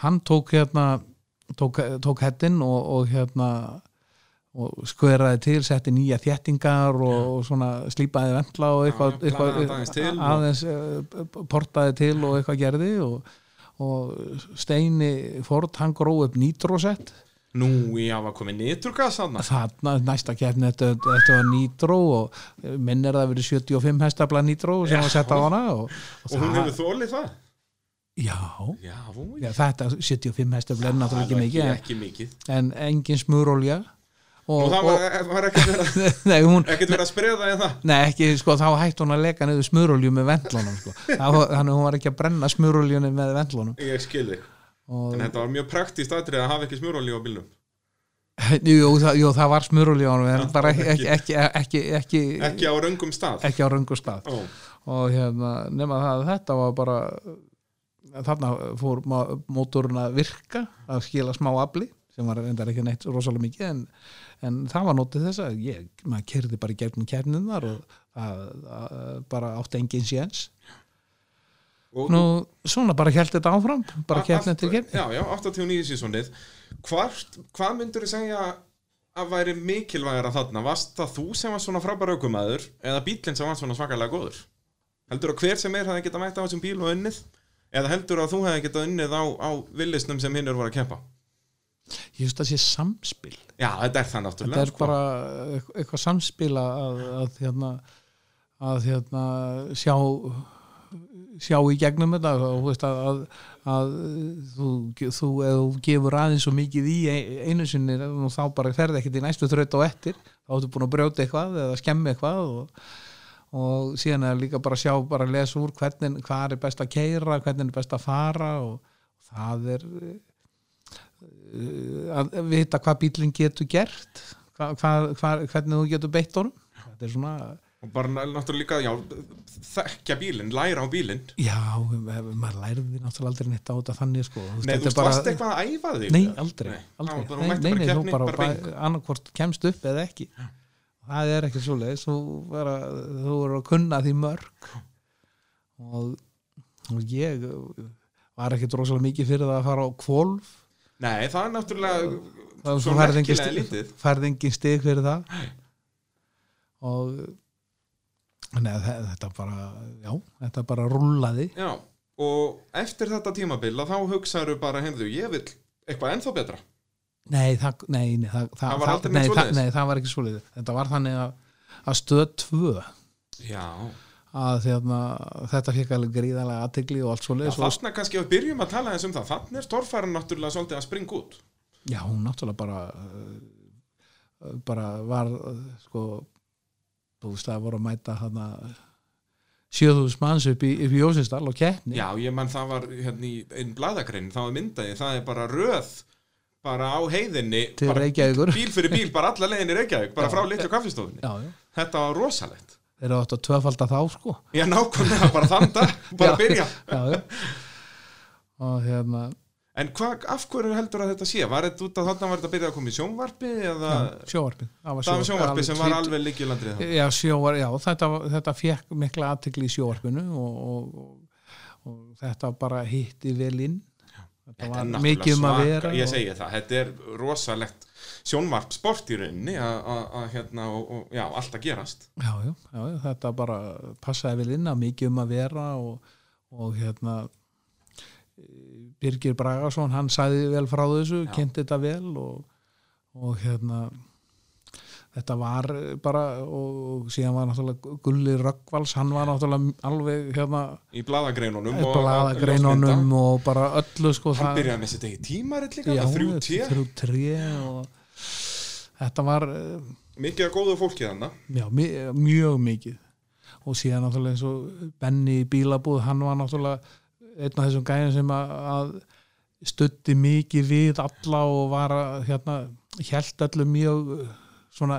hann tók hérna tók, tók hettin og, og hérna og skveraði til, setti nýja þéttingar og, og svona slípaði vendla og eitthvað,
Já,
eitthvað,
planaði aðeins til og-
aðeins eh, portaði til og eitthvað gerði og, og Steini Ford hann gróð upp nýtrósett
nú, já, var komið niturgas hann
þarna næsta keppni þetta, þetta var nýtró og minn er það verið 75 hestafla nýtró sem var sett á hana og, og,
og hún hefur þólið það
já,
já, hún
já, þetta 75 hestafla er náttúrulega
ekki,
ekki mikið en,
Ah, ekki mikið
en engin smurolja
og
og,
það
og,
var, var ekkert verið
nei, hún,
ekkert verið að spreða en það
nei ekki sko, þá hætti hún að leka niður smurolju með vendlunum sko. Þá- þannig að hún var ekki að brenna smuroljunni með vendlunum
ég skilði,
og,
en þetta var mjög praktíst atrið að hafa ekki smurolí á bílnum
jú, það, jú, það var smurolja en bara
ekki-
ekki ekki, ekki, ekki, ekki,
ekki á röngum stað
ekki á röngu stað
Ó.
og hérna, nema það að þetta var bara þarna fór ma- mótorinn að virka að skila smá afli sem var reyndar ekki neitt rosalega mikið en, en það var nótið þess að ég, maður kerði bara í gegnum kefninar og að, að, bara átti engin séns
og
Nú, svona bara held þetta áfram bara
A-
kefnin
allt-
til kefni
Já, já, 89 sísonið Hvar, Hvað myndur þú segja að væri mikilvægara þarna varst það þú sem var svona frábæra aukumæður eða bílinn sem var svona svakalega góður heldur að hver sem er hefði geta mætt á þessum bíl og unnið eða heldur að þú hefði geta unnið á, á villisnum sem hinnur voru að keppa
ég finnst það sé samspil
já, þetta er það náttúrulega
þetta er
sko.
bara eh, eitthvað, eitthvað samspil að, að, að, hérna, að hérna, sjá sjá í gegnum þetta og þú veist að, að, að þú, þú, ef þú gefur aðeins svo mikið í ein- einu sinni og þá bara ferði ekkert í næstu þraut á eftir þá ertu búin að brjóta eitthvað eða skemmi eitthvað og, og síðan er líka bara að sjá bara að lesa úr hvernig, hvað er best að keira hvernig er best að fara og það er að vita hvað bílinn getur gert hva, hva, hva, hvernig þú getur beitt honum þetta er svona
og bara náttúrulega líka, já, þekkja bílinn læra á bílinn
já, ma- maður lærði náttúrulega aldrei neitt á þetta þannig sko Þú veist,
Nei,
þetta
þú
er
veist, varst eitthvað að æfa þig?
nei,
eða?
aldrei, aldrei.
Það var bara,
nei, nei,
þú
þú
mætti bara
bara,
keppni, bara bing
bara annarkvort kemst upp eða ekki það er ekki svoleiðis þú, bara, þú er að kunna því mörg og, og ég var ekkit rosalega mikið fyrir það að fara á kvolf
Nei, það er náttúrulega,
það
Svo
svo færði engin
merkilega
stig,
lítið.
færði engin stig fyrir það og neð, þetta bara já, þetta bara rúllaði
já Og eftir þetta tímabil, að þá hugsaðu bara, heyrðu, ég vil eitthvað ennþá betra
nei, það, nei, nei, það,
Það var aldrei
nei,
neitt
það,
svoleiðis?
nei, það var ekki svoleiðið þetta var þannig að, að stöð tvö
Já,
að þérna, þetta fekk alveg gríðalega aðtigli og allt
já
svoleiðis og,
þarna kannski að við byrjum að tala eins um það Þannig er torfæran náttúrulega svolítið að springa út
já, hún náttúrulega bara uh, bara var uh, sko búst að voru að mæta hana 7000 manns upp í, upp í Jósistall og keppni
Já, ég mann það var hérna í einn bladagrein Þá er myndaði, það er bara röð bara á heiðinni
til
bara
Reykjavíkur
Bíl fyrir bíl, bara alla leiðinni í Reykjavík bara
Já.
frá litlu kaffistofunni
já, já.
Þetta var rosalegt
þeir eru átt að tvöfalda þá sko
Já, nákvæmlega, bara þanda, bara
Já.
byrja
já, já. og hérna
En hva, af hverju heldur að þetta sé? Var þetta út að þarna var þetta byrjað að koma í sjónvarpi eða
sjóvarpið það
það var sjónvarpi sem var
tvít-
alveg líkjulandrið það?
já, sjóvar, já þetta, var- þetta fekk mikla aðtekli í sjóvarpinu og, og, og, og þetta bara hitti vel inn
er
þetta var
náttúrulega
mikið um að
svaka-
vera
Ég
og-
segi það, þetta er rosalegt sjónvarp sport í rauninni að- að að, hérna og, og já, allt að gerast
já, já, já, já, þetta bara passaði vel inn að mikið um að vera og, og hérna eh, Birgir Bragason hann sæði vel frá þessu,
Já.
kynnti þetta vel og, og hérna þetta var eh, bara og, og síðan var náttúrulega Gulli Röggvals, hann var náttúrulega alveg hérna
í bladagreinunum Um og-
bladagreinunum
ljósmynda.
og bara öllu sko
Hann
það-
byrjaði með sitt eigið tímarit líka,
já,
það þrjú tíu
þrjú tré og þetta var eh,
Mikið að góðu fólki þannig
Já, mi- mjög mikið og síðan náttúrulega eins og Benny í bílabúð, hann var náttúrulega einn af þessum gæðum sem að, að stutti mikið við alla og var að hérna hjælt öllu mjög uh, svona,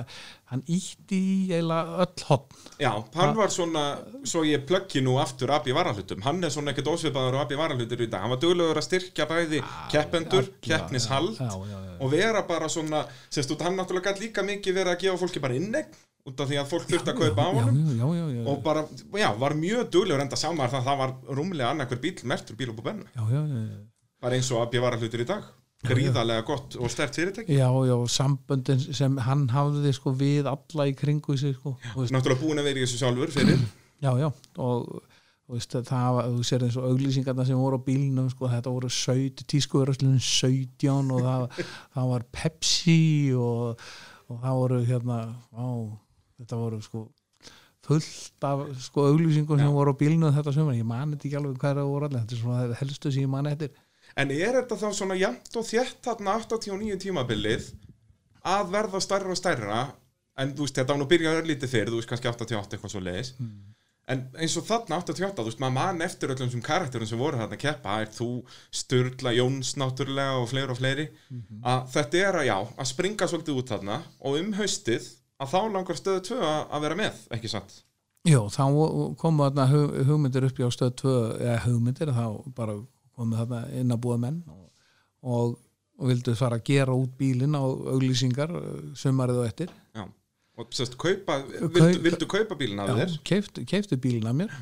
hann ítti í eiginlega öll hopn
Já, hann var svona, svo ég plöggi nú aftur Abbi Varahlutum, hann er svona ekkert ósvipaður á Abbi Varahlutur í dag, hann var duglegur að styrkja bæði keppendur, keppnishald
já, já, já,
og vera bara svona sérst út, hann náttúrulega gæti líka mikið verið að gefa fólki bara innegn út af því að fólk þurfti að kaupa á
já,
honum
já, já, já,
og bara, já, var mjög duglegur enda sá maður það að það var rúmlega annarkur bíl mertur bíl upp á bennu,
já, já, já, já.
bara eins og að bjöfara hlutur í dag gríðarlega gott og stert fyrirtæki
Já, já, samböndin sem hann hafði sko við alla í kringu sig sko, já,
náttúrulega búin að vera í þessu sjálfur fyrir
Já, já, og þú veist, það var, þú sér eins og auglýsingarna sem voru á bílnum, sko, þetta voru 17, tískuverðarslunum 17 og það, það var Pepsi og, og það voru hérna, á, þetta voru sko fullt af sko auglýsingum sem voru á bílnum þetta sömur, ég mani þetta ekki alveg hvað það voru allir, þetta er svona það helstu sem ég mani eftir.
en er þetta þá svona jæmt og þétt þarna 89 tímabilið að verða stærra og stærra en þú veist, þetta var nú byrjað örlítið fyrir þú veist, kannski 88 eitthvað svo leiðis en eins og þarna 88, þú veist, maður mann eftir öllum þessum karakterum sem voru þarna að keppa er þú, Sturla, Jóns náttúrulega og fleiri og fleiri að þetta er að, já, að springa svolítið út þarna og um haustið að þá langar stöðu tvö að að vera með, ekki satt?
Jó, þá komu þarna hug- hugmyndir upp hjá stöð 2, eða hugmyndir, þá bara komu þarna inn að búa menn og, og, og vildu fara að gera út bílinn á auglýsingar eh, sumarið og eftir.
Já, og sérst, kaupa, vildu, vildu kaupa bílinn af þér?
Keiftu, keiftu bílinn að mér.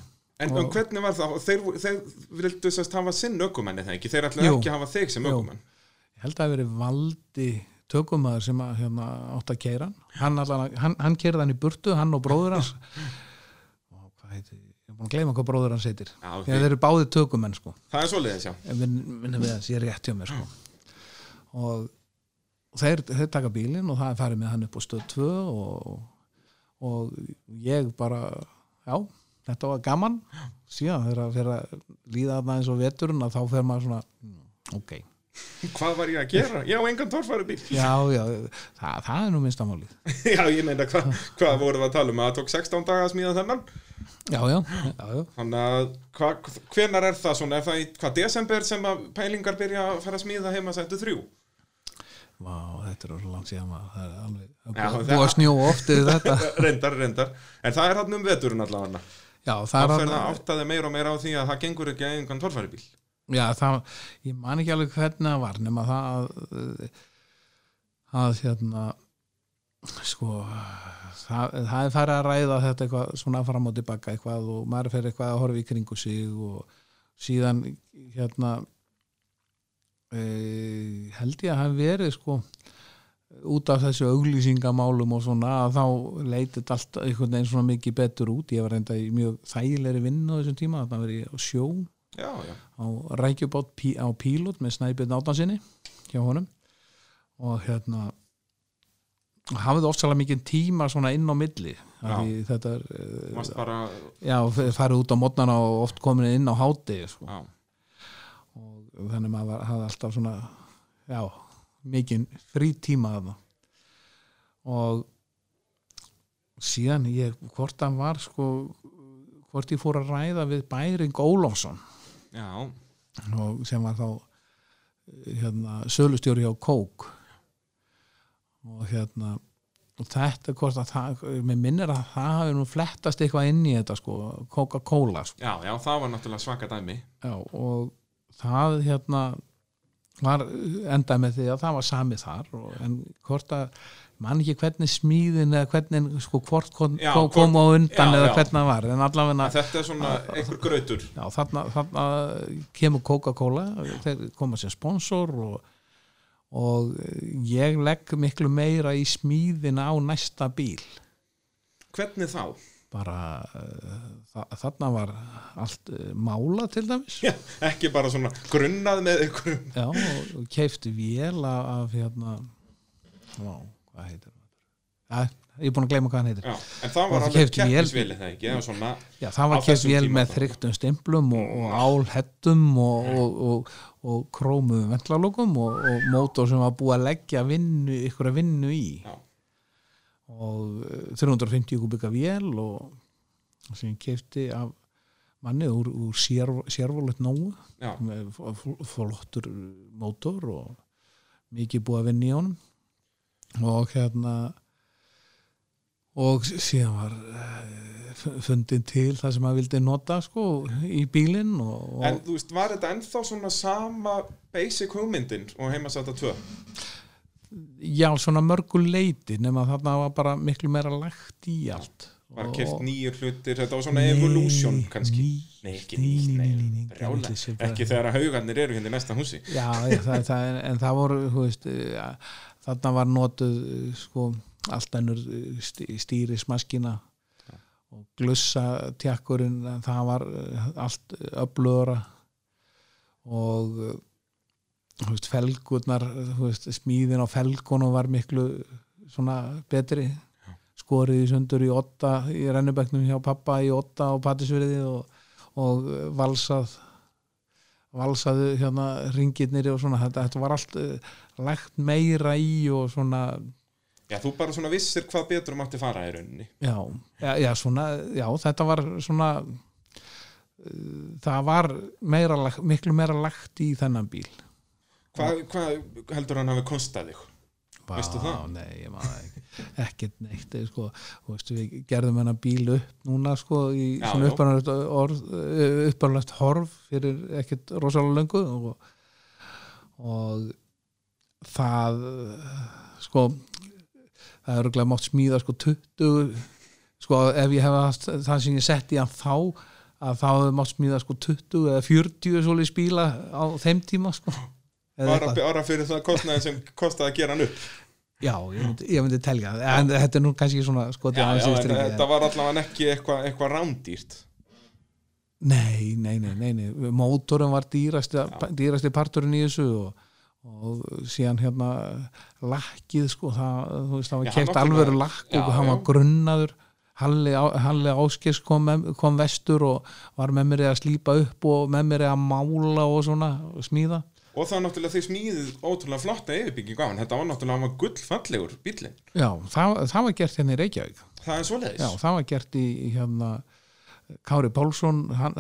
En
Og-
um, hvernig var það? Þeir, vo- þeir vildu sérst hafa sinn ökumenn eða ekki? Þeir ætlaði
Jú.
ekki að hafa þig sem
Jú.
ökumenn.
Ég held að það hafi verið valdi tökumæður sem að, hérna, átt að keira hann. hann, allan, hann, hann keirði hann í burtu, hann og bróður hans og hvað heiti, ég er búin að gleyma hvað bróður hans heitir
Já, ok.
þegar þeir eru báði tökumenn sko
það er svoleiðis, já
ef minn, minnum við að sé rétt hjá mér sko. og þeir, þeir taka bílinn og það er farið með hann upp á stöð 2 og, og ég bara já, þetta var gaman síðan þegar að fyrir að líða þarna eins og veturinn að þá fer maður svona mm, ok,
hvað var ég að gera? Já, engan torfæru bíl
já, já það, það er nú minnstamálið
já, ég meina, hva, hvað vorum við að tala um að það tók 16 daga að smíða þennan
já, já, já, já
þannig að hva, hvenar er það svona, er það í hvað desember sem að pælingar byrja að fara að smíða heima sættu þrjú?
Vá, þetta er orðið langt síðan maður það er alveg, það
Já,
er búið-
það-
búið að snjóa oft yfir þetta
reyndar, reyndar, en það er hann um veturinn allavega
já, það
það
er
fer það
alveg-
áttaði meira og meira á því að það gengur ekki að engan torfæru bíl
Já, það, ég man ekki alveg hvernig það var nema það að, eh, að hérna sko það, það er farið að ræða þetta eitthvað svona fram og tilbaka eitthvað og maður fer eitthvað að horfa í kringu sig og síðan hérna e, held ég að hann verið sko út af þessu auglýsingamálum og svona að þá leitið allt einhvern veginn svona mikið betur út ég var reynda í mjög þægilegri vinnu á þessum tíma þannig að verið á sjó
já, já,
á rækjubát pí, á pílot með Snæbjörn Átansinni hjá honum og hérna og hafði ofsalega mikið tíma svona inn á milli af
Já.
því þetta er eh,
varst bara
já, f- farið út á mótnana og oft komin inn á hátegi sko.
já,
og þannig maður var- hafði alltaf svona já, mikið frí tíma þarna og síðan ég, hvort hann var sko, hvort ég fór að ræða við Bæring Ólafsson
já,
og sem var þá hérna, sölustjóri hjá Kók og hérna og þetta hvort að það mér minnir að það hafi nú flettast eitthvað inn í þetta sko, Coca-Cola sko.
já, já, það var náttúrulega svaka dæmi
Já, og það hérna var endað með því að það var samið þar og, en hvort að mann ekki hvernig smíðin eða hvernig sko hvort kom,
Já,
kom, kom á
hvort- já,
undan eða
já.
hvernig það var en allavega
að þetta er svona einhver grautur
Já, þarna, þarna kemur Coca-Cola, þeir koma sem sponsor og, og ég legg miklu meira í smíðina á næsta bíl.
hvernig þá?
Bara eh, þa þarna var allt eh, málað til dæmis.
Já, ekki bara svona grunnað með einhverjum
Já, og, og keifti vél af, af hérna, á, hvað heitir það? Já, ég er búin að gleyma hvað hann heitir.
já, en það
Og
var
það
alveg
keypti vél.
keppnisvili það ekki, eða svona
Já, það
Á
var keft
þessum
vel
tíma
með
þá.
þrygtum stimplum og, og álhettum og, og, og, og krómuðum ventlalókum og, og mótor sem var búið að leggja vinnu, ykkur að vinnu í
já,
og eh, 350 kubika vél og sem kefti af manni úr, úr sérvólet nógu
já,
með f- f- flottur mótor og mikið búið að vinna í honum og hérna og s- síðan var eh, fu- fundin til það sem að vildi nota sko í bílinn og, og
en þú veist, var þetta ennþá svona sama basic hugmyndin og heimasæta 2
já svona mörgu leiti nema þarna var bara miklu meira lagt í allt
bara
Og-
keft nýjur hlutir, þetta var svona evolution kannski
ný-
Nei, ekki nýtt,
Nei,
nei,
nei, nei, nei,
brjálæði.
nei, nei, nei.
ekki þegar að haugarnir eru hérna í næsta húsi
Já, ég, það, það, er- en það voru þú veist, eh, að- þarna var notuð eh, sko, allt ennur stýrismaskina og glussa tjakkurinn það var eh, allt öflöra og eh, þú veist, felgurnar þú veist, smíðin á felgunum var miklu svona betri skorið í sundur í otta í rennubæknum hjá pappa í otta og patisverði og, og eh, valsað valsaðu hérna ringirnir og svona þetta, þetta var allt uh, lagt meira í og svona
Já, þú bara svona vissir hvað betur mátti fara í rauninni.
já, já, já, svona, já þetta var svona uh, það var meira, lag- miklu meira lagt í þennan bíl
Hvað hva heldur hann hafi kostað þig?
Vá,
Veistu það?
Nei, ég maður ekki, ekkert neitt eh, sko, Þú veistu, við gerðum hennar bíl upp núna sko, í
Já,
svona
já.
uppanlegt orð, uppanlegt horf fyrir ekkert rosalega löngu og, og það eh, sko það er örgulega mátt smíða sko 20 sko ef ég hef haft það sem ég sett í hann þá að þá hefði mátt smíða sko 20 eða 40 svoleiðis bíla á þeim tíma sko eða
bara,
eitthvað.
bara fyrir það kostnaðin sem kostaði að gera hann upp
Já, ég myndi, ég myndi telja það. en þetta er nú kannski svona skotið
já,
aðeins
já,
yfir
en
strikið,
þetta var allavega ekki eitthvað eitthva rándýrt
Nei, nei, nei, nei, nei. mótorum var dýrasti, dýrasti parturinn í þessu og, og síðan hérna lakkið sko, það, þú veist,
Já,
það var
hann
kert
átti
alvöru
bara-
lakk
Já,
og hann
já.
var grunnaður Halli, Á- Halli Áskis kom, með- kom vestur og var með mér að slípa upp og með mér að mála og svona og smíða
og það er náttúrulega því smíðið ótrúlega flotta yfirbygging á hann, þetta var náttúrulega hann var gullfallegur bíllinn,
Já, það, það var gert hérna í Reykjavík
það er svoleiðis
Já, það var gert í í, hérna Kári Pálsson hann,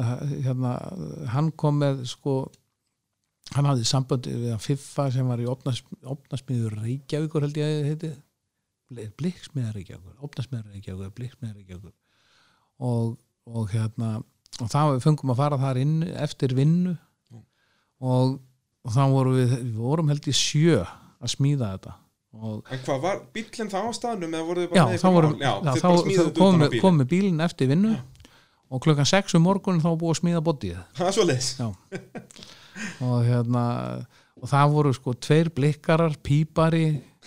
hérna, hann kom með sko hann hafði sambandi við að Fiffa sem var í ofnas, ofnasmiður Reykjavíkur held ég að heiti bliksmiður Reykjavíkur, ofnasmiður Reykjavíkur bliksmiður Reykjavíkur og, og hérna og það við fengum að fara þar inn eftir vinnu og, og þá vorum við, við vorum held ég sjö að smíða þetta og
en hvað var bíllinn það á staðnum eða voruð þið
já,
bara með
þá
ykkur
vorum
mál? já,
já,
þið
þá,
bara
þá
smíðið
komum
utan á
við-
bílinn
komum við bílinn eftir vinnu og klukkan 6 um morgunin þá var búið að smíða bodyið
það er svoleiðis
já. og hérna og það voru sko tveir blikkarar pípari,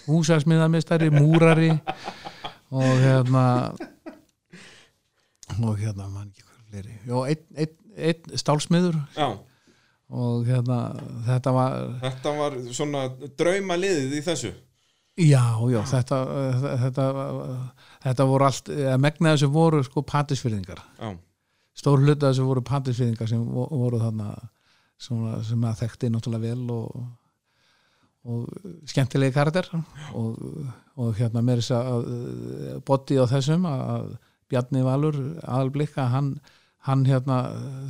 húsasmiðamistari múrari og hérna og hérna mann ekki hver fleiri Jó, einn ein, ein, stálsmiður
já,
og hérna þetta var,
þetta var svona drauma liðið í þessu
já, já þetta, þetta, þetta voru allt, eða megnaði sem voru sko patisfyrðingar
já,
stór hluta þessu voru pandisviðingar sem vo- voru þarna svona, sem að þekkti náttúrulega vel og, og skemmtilegi karakter og, og hérna mér þess að botti á þessum að- að Bjarni Valur aðalblikka hann, hann hérna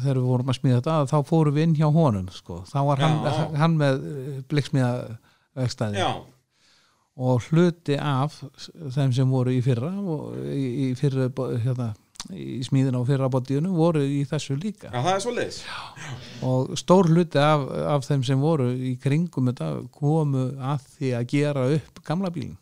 þegar við vorum að smíða þetta að þá fórum við inn hjá honum sko. þá var hann,
Já.
hann með eh, blikksmíða vegstæði
já,
og hluti af þeim sem voru í fyrra og í, í fyrra hérna, í smíðin á fyrra botíðinu voru í þessu líka
já, það er svoleiðis
og stór hluti af, af þeim sem voru í kringum þetta komu að því að gera upp gamla bílinn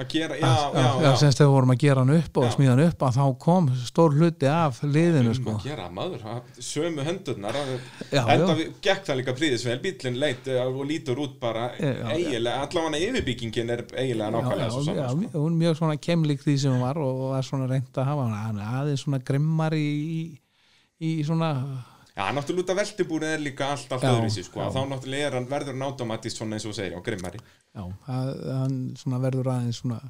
að gera, já, já,
Að-
já,
að sem þegar vorum að gera hann upp og
Já.
smíða hann upp að þá kom stór hluti af liðinu
um
sko.
að gera maður, að sömu hendurnar
Já,
enda
já.
við- gekk það líka príðisvel bíllinn leit eh, og lítur út bara
Já, já.
eiginlega, allavega yfirbyggingin er eiginlega nákvæmlega svo sko.
já,
saman
já, hún er mjög svona kemlik því sem hún var og var svona reynd að hafa hann er aðeins svona grimmar í, í, í svona
Já, náttúrulega út af veltibúrið er líka allt allt
Já,
öðruvísi, sko,
já.
þá náttúrulega er hann verður hann automatist svona eins og þú segir á grimmari
já, það- hann svona verður aðeins svona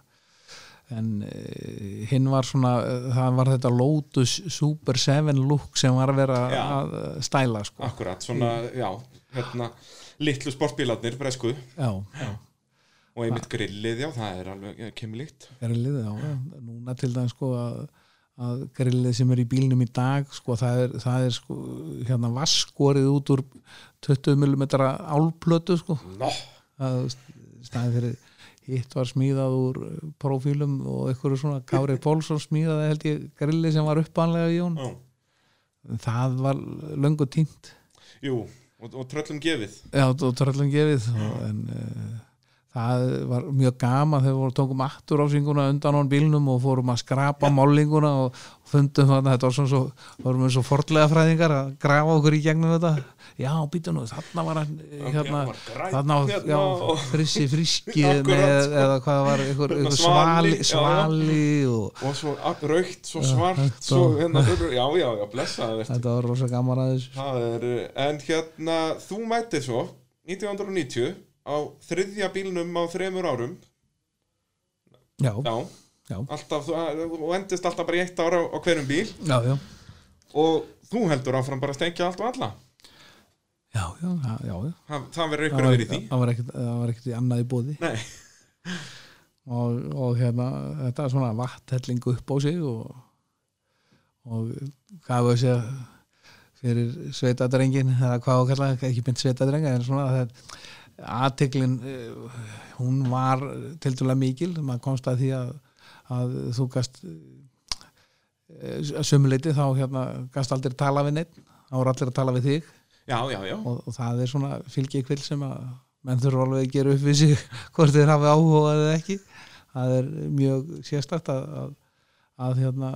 en uh, hinn var svona eh, það var þetta Lotus Super 7 look sem var að vera
Já.
að eh, stæla sko.
akkurat, svona, já, hérna litlu sportbílarnir, bresku
já, já,
og einmitt grillið, já, það er alveg eh, kemilíkt,
grillið já, já. núna til dæmis sko að, að grillið sem er í bílnum í dag sko, það er, það er sko, hérna vaskorið út úr 20 mm álplötu sko
no,
að staðið fyrir hitt var smíðað úr profílum og einhverju svona Kári Pólsson smíðaði held ég grilli sem var uppanlega í hún
já,
það var löngu tínt
jú og, og tröllum gefið,
já, og tröllum gefið og, en uh, það var mjög gama þegar við vorum- tókum aftur ásinguna undan án bílnum og fórum að skrapa málinguna og fundum að þetta var svona svo, vorum við svo forlega fræðingar að grafa okkur í gegnum þetta já, býta nú, þarna var hann eh,
Ok,
hérna,
hann var grænn
þarna var,
hérna
já,
og-
frissi friski
Akkurat,
með,
sko.
eða hvað var einhver, einhver
svali,
svali,
já, já.
svali og
og svo a- raukt, svo svart
þetta-
svo, hérna, öðru- já, já, já, blessaði verð
þetta var rosa gaman að þessu
það er, eh, en hérna þú mætið svo, 1990 á þriðja bílnum á þremur árum,
já,
já,
Já.
alltaf, þú- og endist alltaf bara í eitt ára á hverjum bíl
já, já
og þú heldur áfram bara að stengja allt og alla
já, já, já, já, já.
það, það verður
Það
ykkur að
var,
vera í því
það var ekkert- það var ekkert í annað í bóði
Nei,
og, og hérna, þetta er svona vatthelling upp á sig og, og hvað var þessi fyrir sveitadrengin eða hvað á að kalla, ekki mynd sveitadrenga en svona það aðteklin hún var tildulega mikil, maður komst að því að, að þú gast eh, að sömuleiti þá hérna gast aldrei tala við neitt þá voru allir að tala við þig
já, já, já
og, og það er svona fylgjikvill sem að menn þurfa alveg að gera upp við sig hvort þeir hafi áhuga eða ekki það er mjög sérstakt að, að, að hérna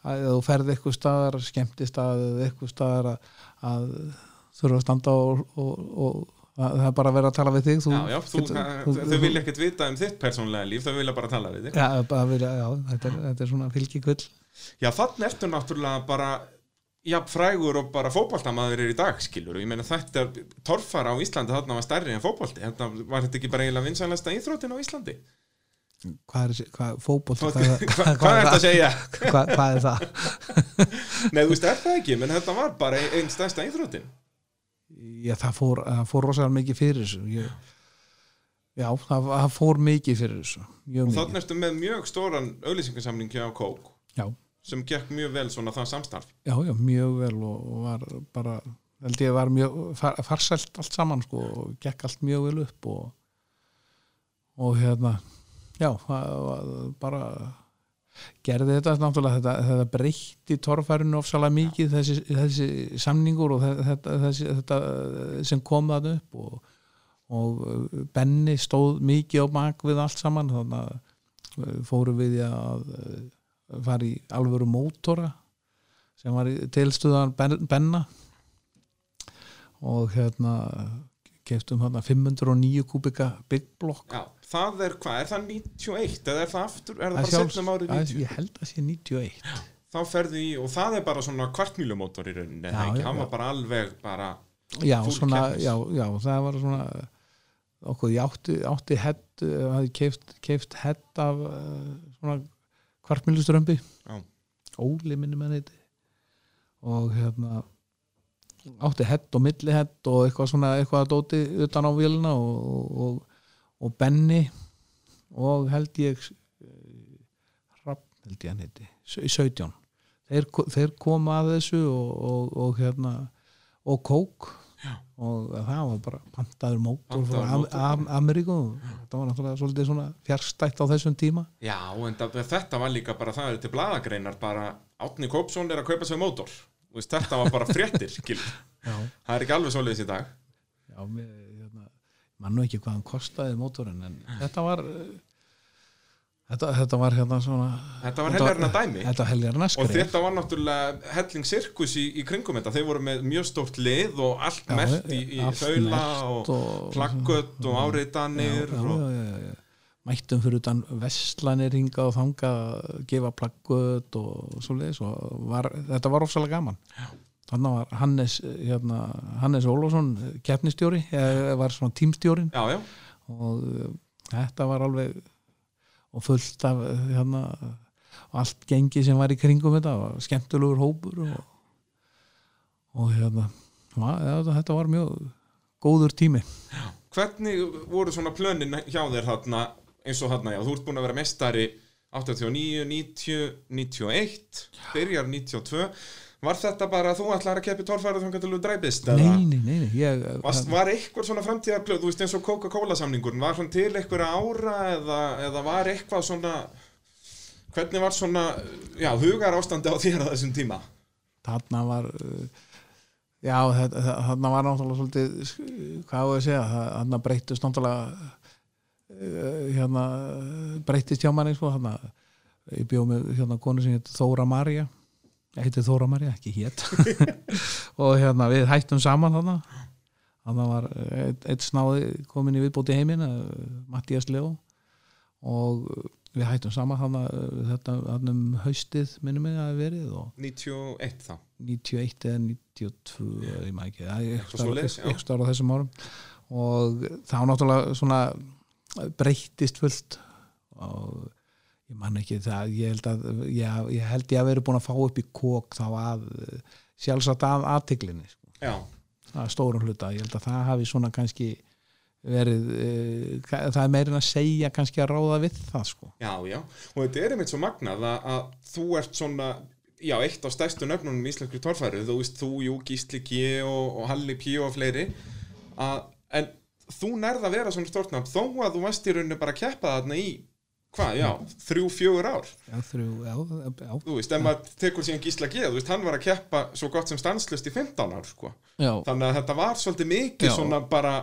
að ef þú ferð eitthvað staðar skemmtist að eitthvað staðar að, að þurfa að standa og, og, og, það það er bara að vera að tala við þig þú,
já, já, þú,
getur-
þú, þau vilja ekkert vita um þitt persónlega líf, þau vilja bara tala við þig
Já, bara vilja, já þetta, er, þetta er svona fylgikvöld
Já, þannig ertu náttúrulega bara já, frægur og bara fótboltamaður er í dag, skilur, ég meina þetta er torfara á Íslandi, þarna var stærri en fótbolti þetta var þetta ekki bara eiginlega vinsælasta íþrótin á Íslandi
Hvað er þessi, hvað, fótbolt
Hvað er þetta að segja?
Hvað, hvað er það?
Nei, þú veist, er það ekki, menn þetta var bara ein- einn stærsta íþrótin
Já, það fór, það fór rosalega mikið fyrir þessu ég, Já, það, það fór mikið fyrir þessu Mjög
og
mikið,
þannig ertu með mjög stóran auðlýsingarsamningi á Kók
já,
sem gekk mjög vel svona það samstarf
já, já, mjög vel og, og var bara, held ég var mjög far, farsælt allt saman sko og gekk allt mjög vel upp og, og hérna já, það var bara gerði þetta náttúrulega þetta, þetta breytti torfærinu ofsalega mikið þessi, þessi samningur og þe- þetta, þessi, þetta sem kom það upp og, og Benni stóð mikið á bak við allt saman þannig að eh, fórum við í að eh, fara í alvöru mótora sem var í tilstuðan Ben- Benna og hérna keftum hérna 509 kubika Big Block
Já, það er hvað, er það 91 eða er það aftur, er það
Að
bara
sjálfs-
setnum um árið
að-
90
ég held að sé 91
þá ferðu í, og það er bara svona kvartmýlumótor í rauninni, eða
Já,
ekki,
já,
hann
já.
var bara alveg bara
já,
Full
svona,
keppnis.
já, já, það var svona okkur, ég átti, átti hett, hafði keift, keift hett af uh, svona kvartmýluströmbi
Já.
Óli minni með neyti og hérna átti hett og milli hett og eitthvað svona, eitthvað að dóti utan á vélina og, og, og Benni og held ég Rapp held ég hann heiti, sau- 17 þeir, ko- þeir koma að þessu og, og, og hérna og kók
Já.
og eh, það var bara pantaður mótor
Pantaður
frá Am
mótor,
Am Ameríku það var náttúrulega svolítið svona fjárstætt á þessum tíma
Já, en það, þetta var líka bara það er til bladagreinar, bara Átni Kópsson er að kaupa sér mótor Þú veist, þetta var bara fréttir, skil
já,
það er ekki alveg svoleiðis í dag
já mér, hérna, mann nú ekki hvað hann kostaði mótorinn en þetta var eh, þetta, þetta var hérna svona
þetta var helgarna dæmi
þetta var helgarna
og
skrif
þetta var náttúrulega helling sirkus í, í kringum þetta, þeir voru með mjög stórt lið og allt
Já,
mert í, í
allt
þaula
merkt
og,
og-
plakkött og áreitanir
já,
og,
já, já, já, já. mættum fyrir utan vestlanir hinga og þanga gefa plaggut og svo leiðis og var, þetta var ofsalega gaman þannig var Hannes hérna, Hannes Ólafsson keppnistjóri eða var svona tímstjórin
já, já,
og eh, þetta var alveg og fullt af eh, hérna, allt gengi sem var í kringum þetta og skemmtulegur hópur og, og hérna va- þetta þetta var mjög góður tími
hvernig voru svona plönin hjá þér þarna eins og þarna, já, þú ert búin að vera mestari 89, 90, 91 byrjar 92 var þetta bara að þú ætlar að keppi torfæra þangar til þú dræpist eða?
nei, nei, nei, nei ég, eh,
Varst, var eitthvað svona framtíðarplöð, þú veist eins og Coca-Cola samningurinn, var hann til eitthvað ára eða, eða var eitthvað svona, hvernig var svona, já, hugar ástandi á þér á þessum tíma?
þarna var uh, já, þetta, þa- þarna var náttúrulega svolítið, sk- hvað á ég að segja þa- þarna breyttist náttúrulega uh, hérna breyttist hjá manni sko, þarna ég bjóð með hérna konu sem heitir Þóra Marja ég heiti Þóra Marja, ekki hét og hérna við hættum saman þarna þarna var eh, einn einn snáði komin í viðbóti heimin Mattias Leo og við hættum saman þarna eh, þetta þarna um haustið minnum mig að hafi verið og
91 þá.
91 eða 92 yeah. ég maður ekki, það er
Eitthvað svoleiðis, já.
ekki stóra á þessum árum og þá náttúrulega svona breyttist fullt og ég man ekki það, ég held að ég, ég held ég að verið búin að fá upp í kók þá að sjálfsagt að aðtiklinni sko,
Já,
að stórum hluta ég held að það hafi svona kannski verið, uh, það er meirinn að segja kannski að ráða við það sko
já, já. Og þetta er einmitt svo magnað að, að þú ert svona, já, eitt af stærstu nöfnunum í íslenskri torfæru, þú veist þú, Jú, Gísli G og, og Halli P og fleiri, að, en þú nærð að vera svona stortnafn þó að þú varst í rauninu bara að keppa þarna í, hvað, já, þrjú, fjögur ár.
já, þrjú, já, já,
þú veist, ef maður tekur síðan Gísla G þú veist, hann var að keppa svo gott sem stanslust í 15 ár, sko,
já.
þannig að þetta var svolítið mikið
Já.
svona bara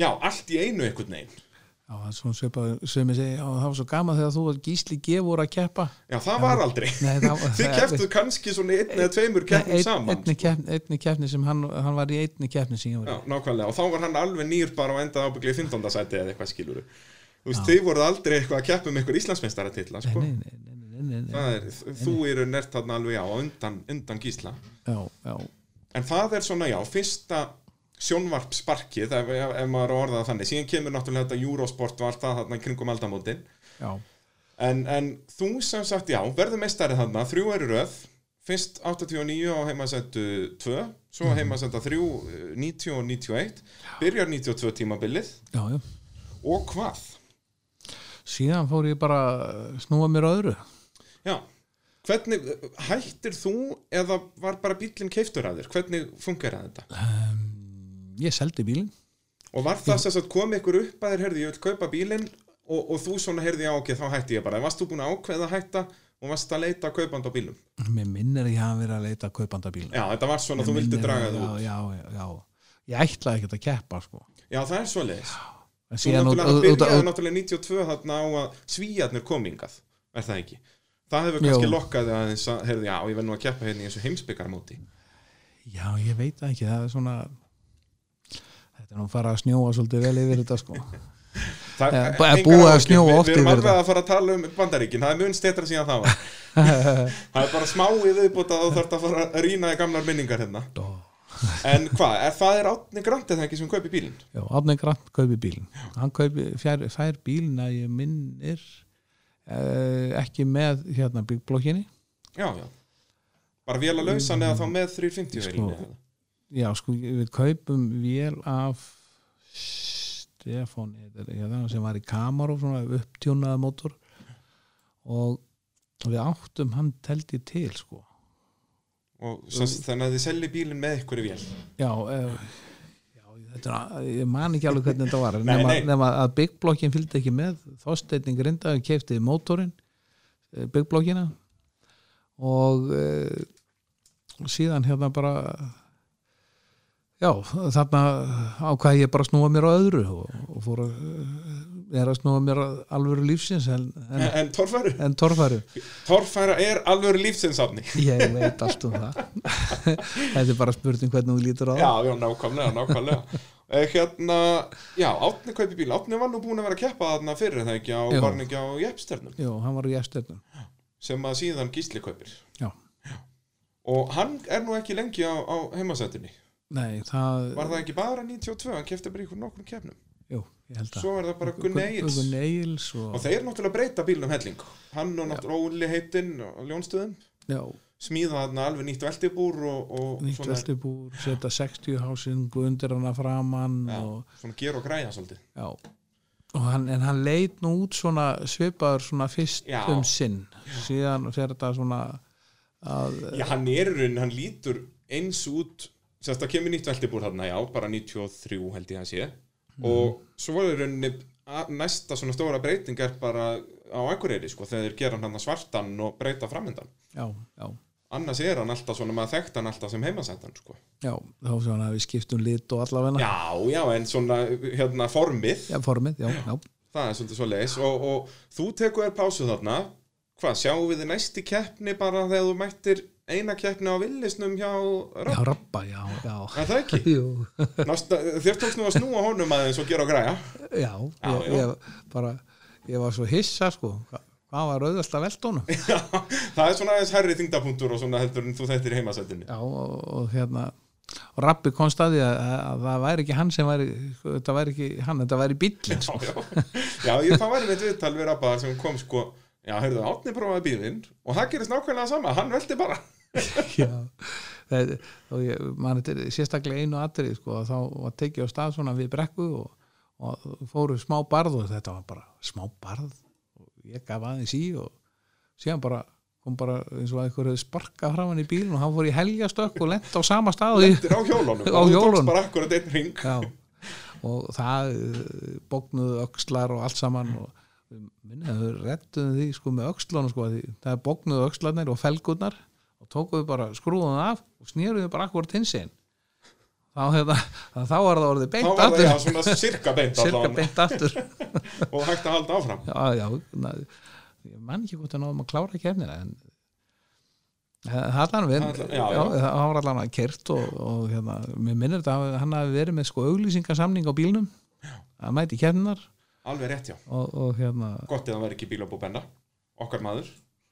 já, allt í einu einhvern veginn
Já, Já, það er svona svipað sem ég segi, já, það var svo gaman þegar þú og Gísli G voru að keppa
Já, það var aldrei
Nei, það var-
Þið keftuð kannski svona í einn eða tveimur keppnum
Nei,
saman sko.
einni, keppni, einni keppni sem hann, hann var í einni keppni sem ég var
Já,
í
nákvæmlega, og þá var hann alveg nýr bara á endað ábyggli í 15. sæti eða eitthvað skiluru Þú veist, þið voruð aldrei eitthvað að keppa um eitthvað Íslandsmeistara titla, sko
nei, nei, nei, nei, nei, nei, nei.
Það er, þú eru nert þarna alveg já, á undan, undan gísla
Já, já,
En það er svona, já, fyrsta sjónvarpsparkið, ef, ef, ef maður orðaða þannig Síðan kemur náttúrulega þetta Eurosport og allt það þarna í kringum aldamótin
já,
En, en þú sem sagt, já, verður meistari þarna, þrjú eru röð, fyrst 89 á heimasendu 2, svo
Mhm.
mm. heimasenda 3, eh, 90 og 91, byrjar 92 tímabilið
já, já
og hvað?
Síðan fór ég bara að snúa mér að öðru
Já, hvernig, eh, hættir þú eða var bara bílinn keiftur að þér? Hvernig fungerar þetta?
Ég seldi bílinn
Og var það sem sagt, kom ykkur upp að þér, herði, ég vil kaupa bílinn og, og þú svona herði, já, ok, þá hætti ég bara. En Varst þú búin að ákveða að hætta og varst að leita kaupand á bílum?
Mér minnir að ég hafa verið að leita að kaupanda bílinn
Já, þetta var svona, þú vildi draga þú út.
Já, já, já, já Ég ætlaði ekkert að keppa, sko
Já, það er svoleiðis.
En
Þú
síðan út-
náttúrulega
út- út-
byrjaði
út-
náttúrulega 92 þarna á að svíjarnir komingað, er það ekki? Það hefur kannski
Jú.
lokkað þig aðeins að, heyrðu, já, ég verð nú að keppa hérna í þessu heimsbyggarmóti.
Já, ég veit það ekki, það er svona Þetta er nú fara að snjóa svolítið vel yfir þetta, sko
Það
Já, bara
engar
búið að
áhyggjur,
snjóa
við-
oft
Við erum
yfir
alveg
það.
að fara að tala um bandaríkin, það er mun stetra síðan það var. það er bara smá í viðbúta að þú þarf að fara að rýna í gamlar minningar hérna.
Dó.
En hvað, er það er átni grantið það ekki sem kaupi bílinn?
Já, Átni Grant kaupi bílinn Hann kaupi, fjær, fær bílinn að ég minnir eh, ekki með hérna byggblokkinni
Já, já. Bara vél að lausa eða þá með 350
Sko.
vélina, eða?
Já, sko, við kaupum vél af Stefán hérna, sem var í Kamaró svona upptjónaða mótor og við áttum hann teldi til, sko
Og svo, þannig að þið selji bílinn með ykkur vél.
Já, eh, já þetta, er að- ég man ekki alveg hvernig þetta var
Nei,
nema,
nei.
nema að byggblokkin fylgdi ekki með þósteinning reynda og keifti mótorinn eh, byggblokkina og eh, síðan hérna bara já, þarna ákvæði ég bara að snúa mér á öðru og, og fór að eh, er að snúa mér að alvöru lífsins en,
En,
en,
en torfæru?
en torfæru
Torfæra er alveg lífsinsafni.
ég veit allt um það þetta er bara spurning hvernig þú lítur á það
Já, já, nákvæmlega, nákvæmlega Eh, Hérna, já, Átni kaupi bíl Átni var nú búin að vera að keppa þarna fyrir það ekki á
Jú.
varningi á Jeppsternum
Jú, hann var í eftirnum
sem að síðan gísli kaupir
Já.
og hann er nú ekki lengi á, á heimasættinni
Nei, það,
var það ekki bara 92, hann kefti bara ykkur nokkrum kefnum
jú, ég held að
svo er það bara Gunni Egils
Gunni Egils og,
og þeir náttúrulega breyta bílnum helling hann og náttúrulega Óli heitinn og Ljónstöðum
já,
smíða þarna alveg nýtt veltibúr og, og
nýtt
svona,
veltibúr, setja 60 hásinn, undir hana framann
Já.
og,
svona ger og græja svolítið
já og hann, en hann leit nú út svona svipaður svona fyrst
Já.
um sinn síðan fer þetta svona að,
Já, hann er í raunin, hann lítur eins út, sérst það kemur nýtt veltibúr þarna, já, bara 93 held ég að sé og svo er í rauninni a- næsta svona stóra breyting er bara á Akureyri, sko, þegar þeir gera hann þarna svartan og breyta framöndan.
já, já
Annars er hann alltaf svona, maður þekkt hann alltaf sem heimasættan, sko.
já, þá sem hann hafi skipt um lit og allavegna
Já, já, en svona, hérna, formið,
já, formið, já, já,
það er svolítið svo leis og, og þú tekur þér pásu þarna, hvað, sjáum við þið næsti keppni bara þegar þú mættir eina keppni á villisnum hjá
já,
Rapp,
rabba, já, já
er það ekki?
jú
Násta, þér tókst nú að snúa honum aðeins og gera og græja
Já,
Já,
ég,
já.
ég bara ég var svo hissa sko hva- hvað var auðvast að velta honum
Já, það er svona aðeins herri þingdapunktur og svona heldur en þú þettir í heimasættinni
já, og, og hérna og Rappi kom staði að, að það væri ekki hann sem væri þetta væri ekki hann, þetta væri bíllinn
Já,
sko.
já, já ég, það var einmitt viðtal við rappa sem kom sko Já, heyrðu, Átni prófaði bílinn og það gerist nákvæmlega sama, hann velti bara
Já. Það- og ég, man, þetta er sérstaklega einu atrið sko, að þá var tekið á stað svona við brekku og, og fóru smá barð og þetta var bara smá barð og ég gaf aðeins í og síðan bara kom bara eins og að ykkur hefði sparkað framann í bílinn og hann fór í helgastökk og lent á sama stað og ég,
Þetta er á hjólunum
Á
og þú
hjólunum.
tókst bara akkurat einn ring
Já, og það bóknuðu öxlar og allt saman og minni að þau rettuðu því sko með öxlunum sko því það bóknuðu öxlarnir og felgurnar og tókuðu bara skrúðuðu af og snýruðu bara akkur tinsinn þá, hefða, þá var það orðið
þá
beint
var það já,
aftur
svona sirka beint
cirka
allavega
beint aftur
og hægt að halda áfram
já, já, na, ég man ekki hvort að náðum að klára kefnina en eh, það er hann við
Það allan- já, já.
það var allan að kert og, og hérna, mér minnir þetta að hann hafi verið með sko auglýsingasamning á bílnum að mæti kefninar
alveg rétt já,
og, og hérna
gott eða hann væri ekki bílabú benda okkar maður,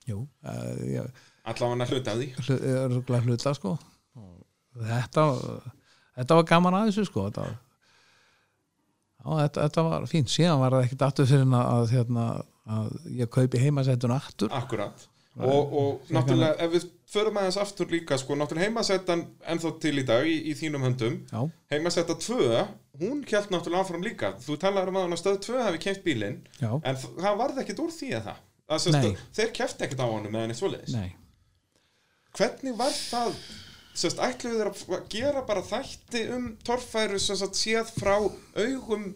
jú, að, já,
allavega hann hluti af því
örgulega hluta sko Og þetta þetta var gaman að þessu sko þetta, á, þetta, þetta var fínt síðan var það ekkert aftur fyrir en að, að, hérna, að ég kaupi heimasettun aftur
Akkurat og, og náttúrulega ef við förum aðeins aftur líka sko, náttúrulega heimasettan ennþá til í dag í, í þínum höndum
já,
heimasetta 2, hún kjælt náttúrulega áfram líka þú talar um að hann að stöð 2 hafi kæft bílinn
já,
en þ- það varð ekkit úr því að það Það sem
Nei.
sagt, þeir kæfti ekkit á honum eða neitt svoleiðis
nei
hvernig var það sérst, ætluðu þeir að f- gera bara þætti um torfæru sem sagt, séð frá augum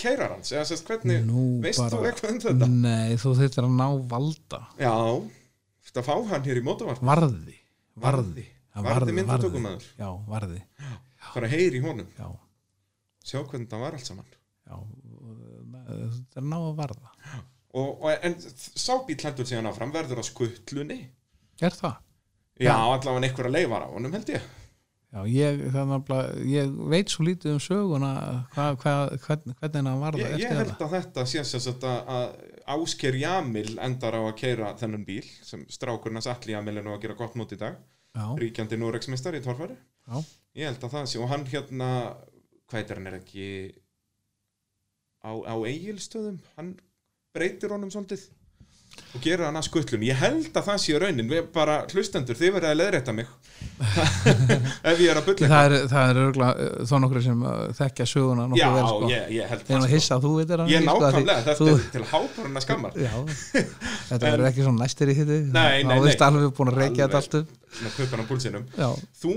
keirarans eða sérst, hvernig,
Nú,
veist
bara-
þú eitthvað um þetta?
nei, þú þurftir að ná valda
Já, þetta fá hann hér í mótavart
varði, varði Já,
Varði myndatökumaður.
varði. já, varði,
bara heyri í honum,
já,
sjá hvernig það var allt saman
já þú þurftir að ná að varða
og, og, en sábíl heldur síðan áfram verður á skuttlunni
er það?
já, allavega einhverja leifar á honum held ég
Já, ég, það er nafnilega, ég veit svo lítið um söguna hva, hva, hvern, hvernig hann var það
ég, ég
eftir
held
þetta.
að þetta sé sem sagt að, að Ásker Jamil endar á að keira þennan bíl sem strákurnas allir Jamil er nú að gera gott mót í dag
Já,
ríkjandi Núreksmistar í torfæri
já,
ég held að það sé og hann hérna hvað heitir hann er ekki á, á eigilstöðum hann breytir honum svolítið og gera hann að skuttlun ég held að það sé raunin, við bara hlustendur þið verið að leiðrétta mig ef ég er að bulla
það er, það er örgla þó nokkur sem uh, þekkja
já,
söguna nokkuð vel, sko.
ég, ég held
Ég er nú
það
að hissa að þú veitir hann.
ég
ekki, sko, af því
nákvæmlega, þetta
þú-
er til háparuna skammar
Já, þetta verður ekki svona næstir í hitti.
Nei, nei,
Þá veist
nei.
alveg búin að reykja þetta
Alveg.
allt upp.
með puttan á púlsinum
Já,
þú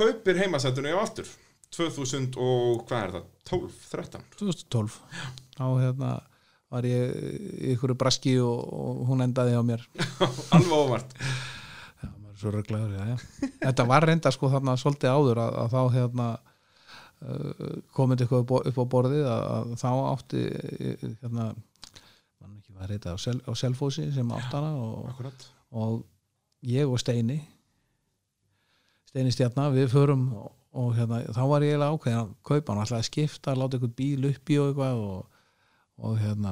kaupir heimasættunni á aftur 2000 og hvað er það 12, 13
2012. Þá hérna var ég í ykkur braski og, og hún endaði á mér.
alveg óvart
Já, maður er svo rögglegur, já, já. Þetta var reynda sko þarna svolítið áður að, að þá hérna uh, komið eitthvað upp á- upp á borðið að, að þá átti eh, hérna mann ekki var reynda á, sel, á selfósi sem átt hana og,
akkurat
og ég og Steini Steini Stjarnar, við förum og, og hérna, þá var ég eiginlega ákveðin að kaupa hann alltaf að skipta, láta eitthvað bíl upp í og eitthvað og, og hérna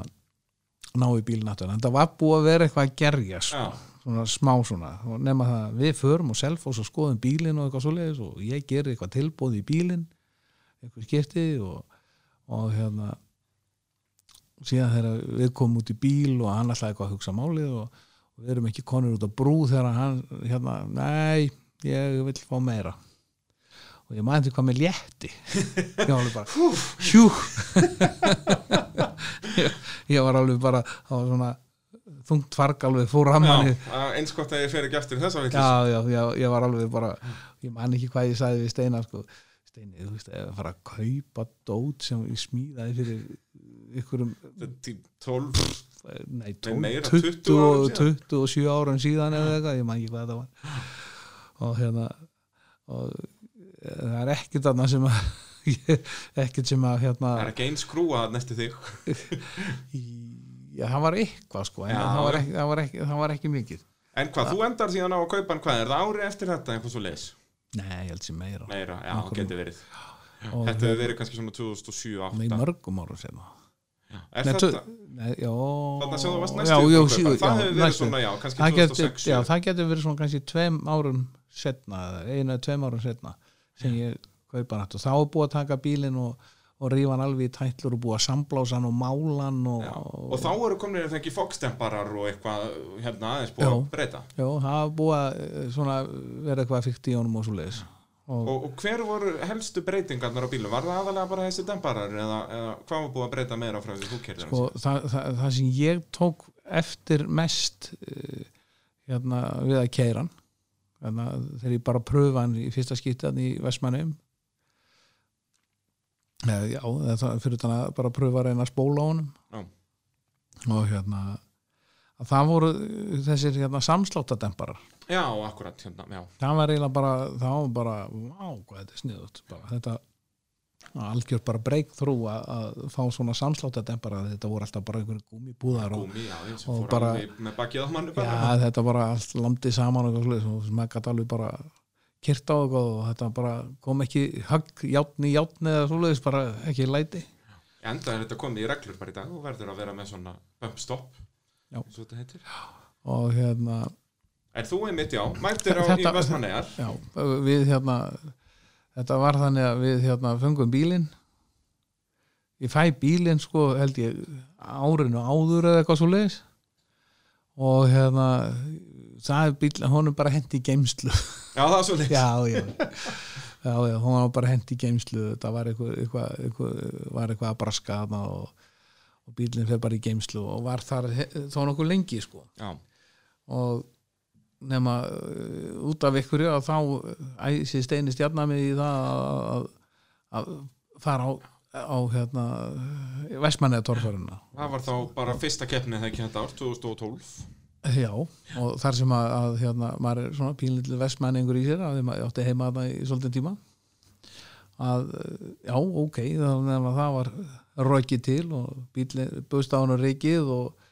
ná í bíl náttúrulega, en það var búið að vera eitthvað að gerja sko
já,
svona smá svona og nema það að við förum og self og svo skoðum bílinn og eitthvað svoleiðis og ég gerir eitthvað tilbúð í bílinn eitthvað skipti og, og hérna síðan þegar við komum út í bíl og hann alltaf eitthvað að hugsa málið og, og við erum ekki konur út á brú þegar hann hérna, nei, ég vil fá meira og ég maður til hvað með létti ég var alveg bara hjú ég, ég var alveg bara það var svona þungt farg alveg fór að manni
já, að eins gott að ég fer ekki aftur í þessa vitlis
já, já, já, ég var alveg bara ég man ekki hvað ég sagði við Steina sko. Steini, þú veist, ef að fara að kaupa dót sem ég smíðaði fyrir ykkurum,
12
nei,
Nei,
12,
meira,
20,
20 árum
27 árum síðan eða eitthvað, ég man ekki hvað þetta var og hérna og eh, það er ekkert annað sem að ég- ekkert sem að hérna
Það er ekki einn skrúa næstu þig
í- já, það var eitthvað sko en
Já.
það var ekki, það var ekki, það var ekki mikið
En hvað, þú endar síðan á að kaupa hann hvað er það ári eftir þetta einhvers og leis
nei, ég held sem meira
Meira, já,
Nákvæmlega.
getur verið
og
Þetta hefur verið kannski svona 2007-2008
í mörgum árum sem
Er
Nei,
þetta,
tvö- nei, já,
þannig að sem þú varst
já,
næstu
já,
að
síður,
kaupa Það
já,
hefur verið
næstu.
svona, já, kannski
það getur,
2006
já,
sjö.
það getur verið svona kannski tveim árum setna, eða einu eða tveim árum setna sem ég kaupa hann aftur. þá er búið að taka bílinn og, og rífa hann alveg í tætlur og búið að samblása hann og mála hann og,
Já,
og,
Og þá eru komnir þegar ekki fókstemparar og eitthvað hérna aðeins búið
Já.
að breyta
já, það er búið að eh, svona vera eitthvað fyrkt í honum og svo leiðis og,
og, og hver voru helstu breytingarnar á bílum? Var það aðalega bara þessi demparar eða, eða hvað var búið að breyta meira frá þessi húkkerðar?
sko, það, það, það sem ég tók eftir mest uh, hérna, við að keira hann hérna, þegar ég bara pröfa hann í fyrsta skýttan í Vestmannum eða Eh, já, eða það- fyrir þannig að bara pröfa að reyna að spóla á honum
Já.
og hérna að það voru eh, þessir hérna, samsláttademparar
já, akkurat, hérna, já
það var eiginlega bara, það var bara vá, hvað þetta er sniðut bara, þetta algjör bara breakthrough að, að fá svona samsláttadempara þetta voru alltaf bara einhverjum gúmibúðar og,
Gúmi, já, ég sem
og
fór
bara-
alveg með bakið á mannu
já,
bara
þetta bara allt landið saman og eitthvað svoleiðis og maður gæti alveg bara kyrt á eitthvað og þetta bara kom ekki högg, játn í játn eða svoleiðis bara ekki læti
Enda er þetta komið í reglur bara í dag og verður að vera með svona bump stop
Já.
eins og þetta heitir
og hérna
Er þú einmitt, já, mættir á í
Þetta-
Vestmannegar
Já, við hérna þetta var þannig að við hérna fengum bílinn ég fæ bílinn sko held ég árinu áður eða eitthvað svo leiðis og hérna það er bíl, honum bara hent í geimslu
Já, það er svo leik
já, já já, já, hún var bara hent í geimslu þetta var eitthvað, eitthvað, eitthvað var eitthvað að braska þarna og, og bílinn fer bara í geimslu og var þar he- þó nokkuð lengi sko
Já,
og nema uh, út af ykkur að þá æsi steini stjarnami í það að, að fara á, á hérna Vestmanneða torfaruna
það var þá bara fyrsta keppnið það ekki þetta ár, 2012
Já, og þar sem að, að hérna, maður er svona pínlítið vestmenningur í sér að því maður átti heima þarna í svolítið tíma að eh, já, ok þá nefnum að það var rökið til og bíli, búst á hann og reikið og,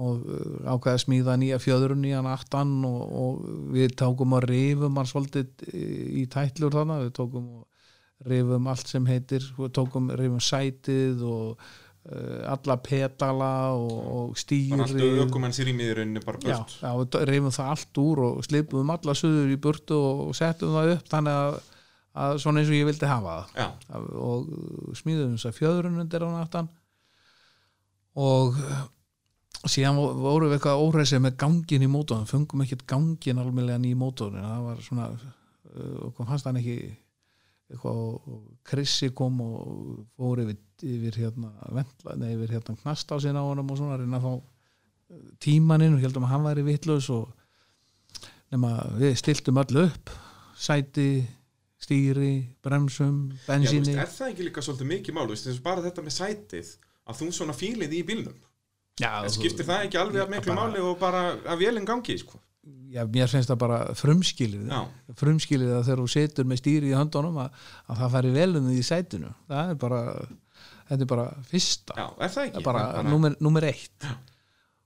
og eh, ákvaði að smíða nýja fjöðrun nýjan aftan og, og við tókum og rifum hann svolítið eh, í tætlur þarna, við tókum og rifum allt sem heitir, við tókum rifum sætið og eh, alla petala og, og
Bara
stýrið
alltaf aukumenn sér í miðurinn bara
já,
burt
já, við reyfum það allt úr og slipum alla suður í burtu og settum það upp þannig að, að svona eins og ég vildi hafa það
Já,
Af- og uh, smíðum þess að fjöðrun undir á náttan og uh, síðan vo- vorum við eitthvað óreisið með gangin í mótorn fengum ekkert gangin almennlegan í mótorn það var svona uh, okkur fannst hann ekki eitthvað og- og Krissi kom og fór yfir, yfir hérna ventla, nei, yfir hérna knast á sinna á honum og svona að reyna að fá uh, tímaninn og heldum að hann væri vitlaus og nema við stiltum öll upp sæti, stýri bremsum,
já þú
bensíni
veist, er það ekki líka svolítið mikið mál, þú veist, eins og bara þetta með sætið að þú svona fílið í bílnum
Já,
En
þú-
skiptir það ekki alveg að miklu
bara-
máli og bara að vélinn gangi, sko
já, mér finnst það bara frumskilið
Já,
frumskilið að þegar þú setur með stýri í höndunum að, að það færi vel um því í sætinu það er bara, þetta er bara fyrsta,
já, er það
það
ekki
er bara,
Það er
númer, númer eitt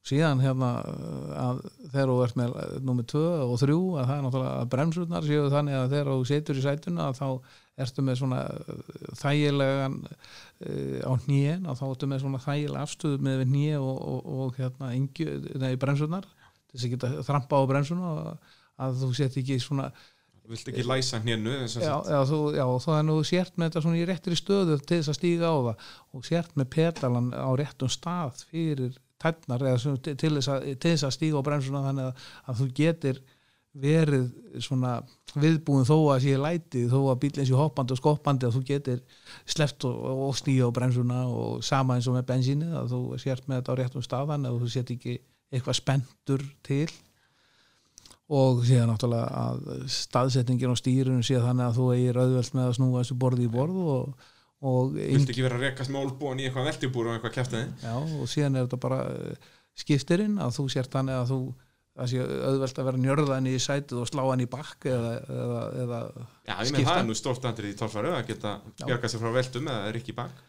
síðan hérna að þegar þú ert með númer tvö og þrjú að það er náttúrulega að bremsurnar séu þannig að þegar þú setur í sætinu að þá ertu með svona eh, þægilegan uh, á hnýjen að þá ertu með svona þægilega afstöðu með við hnýje og, og, og hérna yngju, nei, bremsurnar til þess að geta þrampa á bremsuna og að þú set ekki svona
Vilt ekki læsa hnénu eins og
já, já, þú, já, þá er nú sért með þetta svona í réttri stöðu til þess að stíga á það og sért með pedalan á réttum stað fyrir tætnar eða sem, til, þess að, til þess að stíga á bremsuna þannig að, að þú getir verið svona viðbúin þó að sé lætið, þó að bílinn sé hoppandi og skoppandi að þú getir sleppt og, og stíga á bremsuna og sama eins og með bensínið að þú sért með þetta á réttum staðan að þú set ekki eitthvað spendur til og síðan náttúrulega að staðsetningin á stýrunum sé þannig að þú eigir auðvelt með að snúa þessu borði í borð og, og,
Vilt
eng,
ekki vera að rekast með ólbúan í eitthvað veltibúr og eitthvað kæftið
já, og síðan er þetta bara eh, skiptirinn að þú sér þannig að þú það sé auðvelt að vera njörðan í sætið og slá hann í bakk eða, eða, eða
Já, ég með
Skipta.
það er nú stórt andrið í torfæru að geta bjarga sér frá veltum eða er ekki bak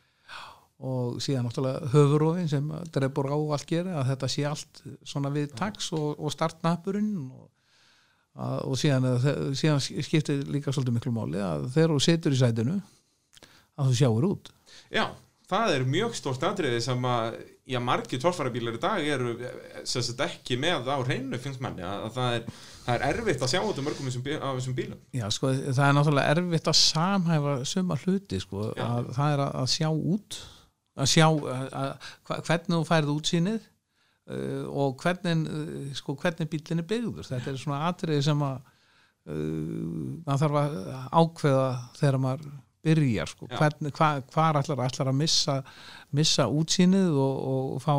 og síðan náttúrulega höfurofin sem drefur á allt gera að þetta sé allt svona við taks og, og startnappurinn og, að, og síðan, síðan skiptir líka svolítið miklu máli að þegar þú setur í sætinu að þú sjáur út
Já, það er mjög stórt atriði sem að, já, margir torfarabílar í dag eru eh, sem sagt ekki með á hreinu, finnst manni að að það er, það er erfitt að sjá út um mörgum þessum bí- af þessum bílum.
Já, sko, það er náttúrulega erfitt að samhæfa suma hluti, sko,
Já.
að það er að, að sjá út, að sjá að, að, hva- hvernig þú færð útsýnið uh, og hvernig, uh, sko, hvernig bíllinn er byggður. Þetta er svona atriði sem að uh, maður þarf að ákveða þegar maður byrjar, sko,
Já.
hvernig, hva, hvar ætlar, ætlar að missa, missa útsýnið og, og fá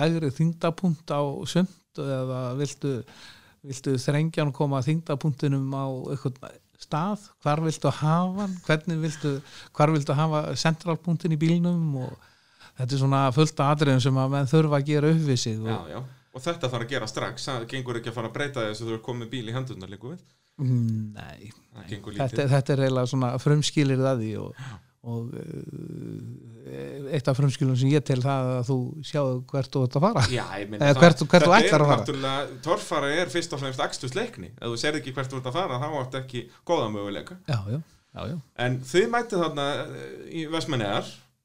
lægri þingdapunkt á sumt eða viltu viltu þrengjan koma að þingdapunktinum á eitthvað stað, hvar viltu hafa hann, hvernig viltu, hvar viltu hafa sentralpunktin í bílnum og þetta er svona fullt af atriðum sem að menn þurfa að gera upp við sig
Já,
og,
já. og þetta þarf að gera strax það gengur ekki að fara að breyta þessu þú er komið bíl í hendurna líku við
Mm, Nei,
það gengur
þetta,
lítið
þetta er eiginlega svona frumskilir það því og, og eh, eitt af frumskilum sem ég tel það að þú sjáðu hvert þú ert að fara
Já, ég meina
Eða
það-
hvert þú- hvert þú
þetta
ætlar
er
að fara.
náttúrulega- Torfara er fyrst og fremst akstusleikni ef þú serð ekki hvert þú ert að fara þá átt ekki góða möguleika
Já, já, já, já,
en þið mætið þarna eh, í Vestmennegar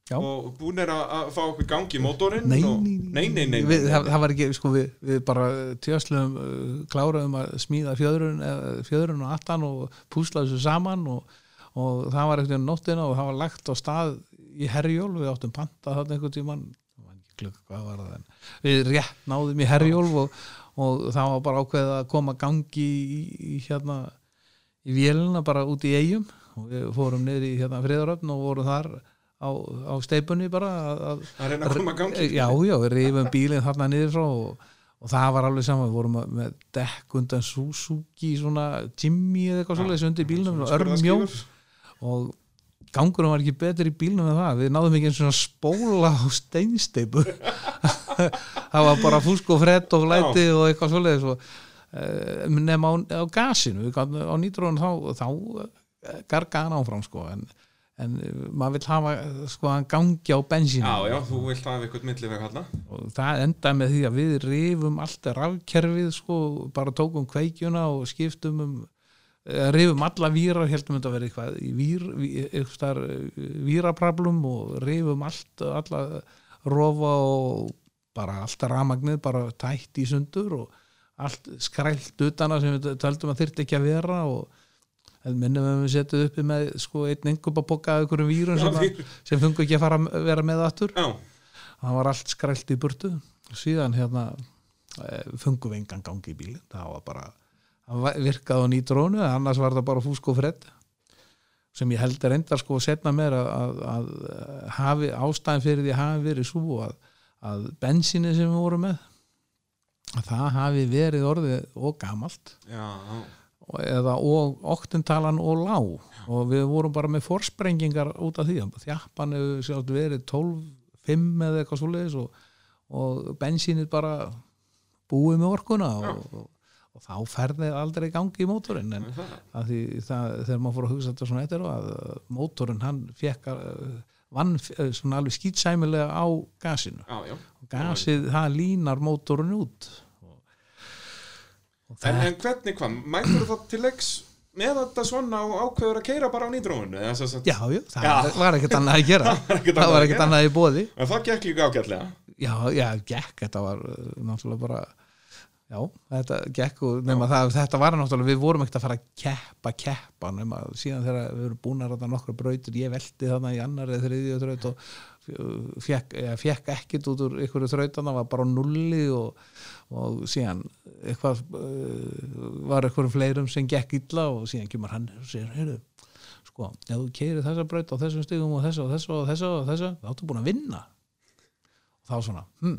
Já.
og búin er að að fá okkur gang í mótorinn
Nei,
og...
nei,
nei, nei, nei,
Við, það, það var ekki, sko, við, við bara tjöslum uh, kláraðum að smíða fjöðrun, eh, fjöðrun og attan og púsla þessu saman og, og það var eitthvað nóttina og það var lagt á stað í herjól, við áttum panta þarna einhvern tímann ég man ekki klukk, hvað var það en við rétt náðum í herjól og, og það var bara ákveðið að koma gangi í, í hérna í vélina bara út í eigum og við fórum niður í hérna friðaröfn og vorum þar á, á steipunni bara að, að
að reyna að koma að gangi
já, já, við rifum bílinn þarna niður frá og, og það var alveg saman, við vorum að- með dekk undan Suzuki, svona Jimmy eða eitthvað svoleiðis undir bílnum og örmjó
skurðarskífur.
og gangurum var ekki betur í bílnum en það, við náðum ekki eins og spóla á steinsteipu það var bara fúsk og frett og læti og eitthvað svoleiðis og eh, nema á, á gasinu við gátum- á nýtrúin þá, þá garga hann áfram sko en, en eh, maður vill hafa sko hann gangi á bensínu
já, já, þú vilt hafa eitthvað milliveg halla
og það endaði með því að við rifum allt rafkerfið sko, bara tókum kveikjuna og skiptum um eh, rifum alla vírar, heldum þetta að vera eitthvað í vír, eitthvað víraprablum og rifum allt alla rofa og bara allt ramagnið, bara tætt í sundur og allt skrælt utana sem við töldum að þyrfti ekki að vera og en minnum við við setjum uppi með sko einn engum að boka ykkur vírun sem, að- sem fungu ekki að fara að vera með aftur
já,
það var allt skrælt í burtu síðan hérna fungum við engan gangi í bílinn það var bara, það var- virkaði á nýtrónu annars var það bara fúsk og fredd sem ég held er enda sko að setna mér að, að, að e, hafi, ástæðin fyrir því hafi verið svo að, að bensíni sem við vorum með að það hafi verið orðið og gamalt
já, já,
og- eða og oktintalan og lá og við vorum bara með forsprengingar út af því þjappan hefur sjálft verið 12, 5 eða eitthvað svoleiðis og, og bensínið bara búið með orkuna og, og, og þá ferði aldrei í gangi í mótorinn en
það er það.
að því það, þegar maður fór að hugsa þetta svona eittir að uh, mótorinn hann fekk að uh, vann uh, svona alveg skýtsæmilega á gasinu
já, já.
gasið það línar mótorinn út og, og
En, en hvernig hvað, mætur það til leiks með þetta svona og ákveður að keira bara á nýdróinu eða sem sagt-
Já, já, það
Já.
var ekkert annað að gera
var ekkert
það
annað að
var ekkert
gera.
annað í bóði
en það gekk líka ágætlega
já, já, gekk, þetta var uh, náttúrulega bara já, þetta gekk og nema það, þetta var náttúrulega, við vorum ekkert að fara að keppa, keppa nema síðan þegar við vorum búin að ráta nokkra brautir ég velti þarna í annar eða þriðju þraut og fekk, fekk ekkert út úr ykkur þrautana, var bara á nulli og, og síðan eitthvað uh, var ykkur fleirum sem gekk illa og síðan kemur hann og segir, heyrðu sko, ef þú keirir þessa braut á þessum stigum og þessa og þessa og þessa og þessa þá ertu búin að vinna og þá svona, hm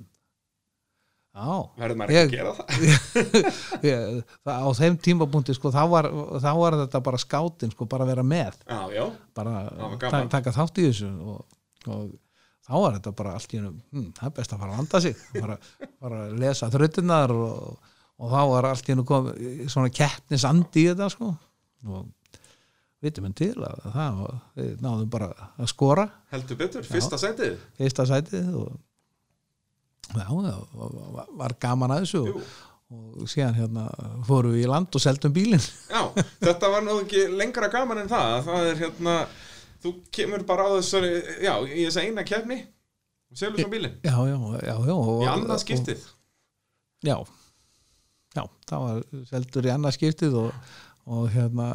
já,
verður maður ekki
Ég-
að gera það
ég, það, á þeim tímapunkti sko, þá var, þá var þetta bara skátin sko, bara að vera með
já, já,
bara
Það var
ta
gaman.
taka þátt í þessu og, og þá var þetta bara allt í hennu hm, það er best að fara að landa sig bara, bara að lesa þrautinnar og, og þá var allt í hennu kom svona keppnisandi í þetta sko og vitum en til að það var- við náðum bara að skora
heldur betur, fyrsta sætið
fyrsta sætið og já, það var- var- var gaman að þessu
Jú.
og, og síðan hérna fórum við í land og seldum bílinn
Já, þetta var nú ekki lengra gaman en það það er hérna, þú kemur bara á þessari, já, í þessa eina kefni og selur svo bílinn
já, já, já, já og,
í annað skiptið
já, já, það var seldur í annað skiptið og, og hérna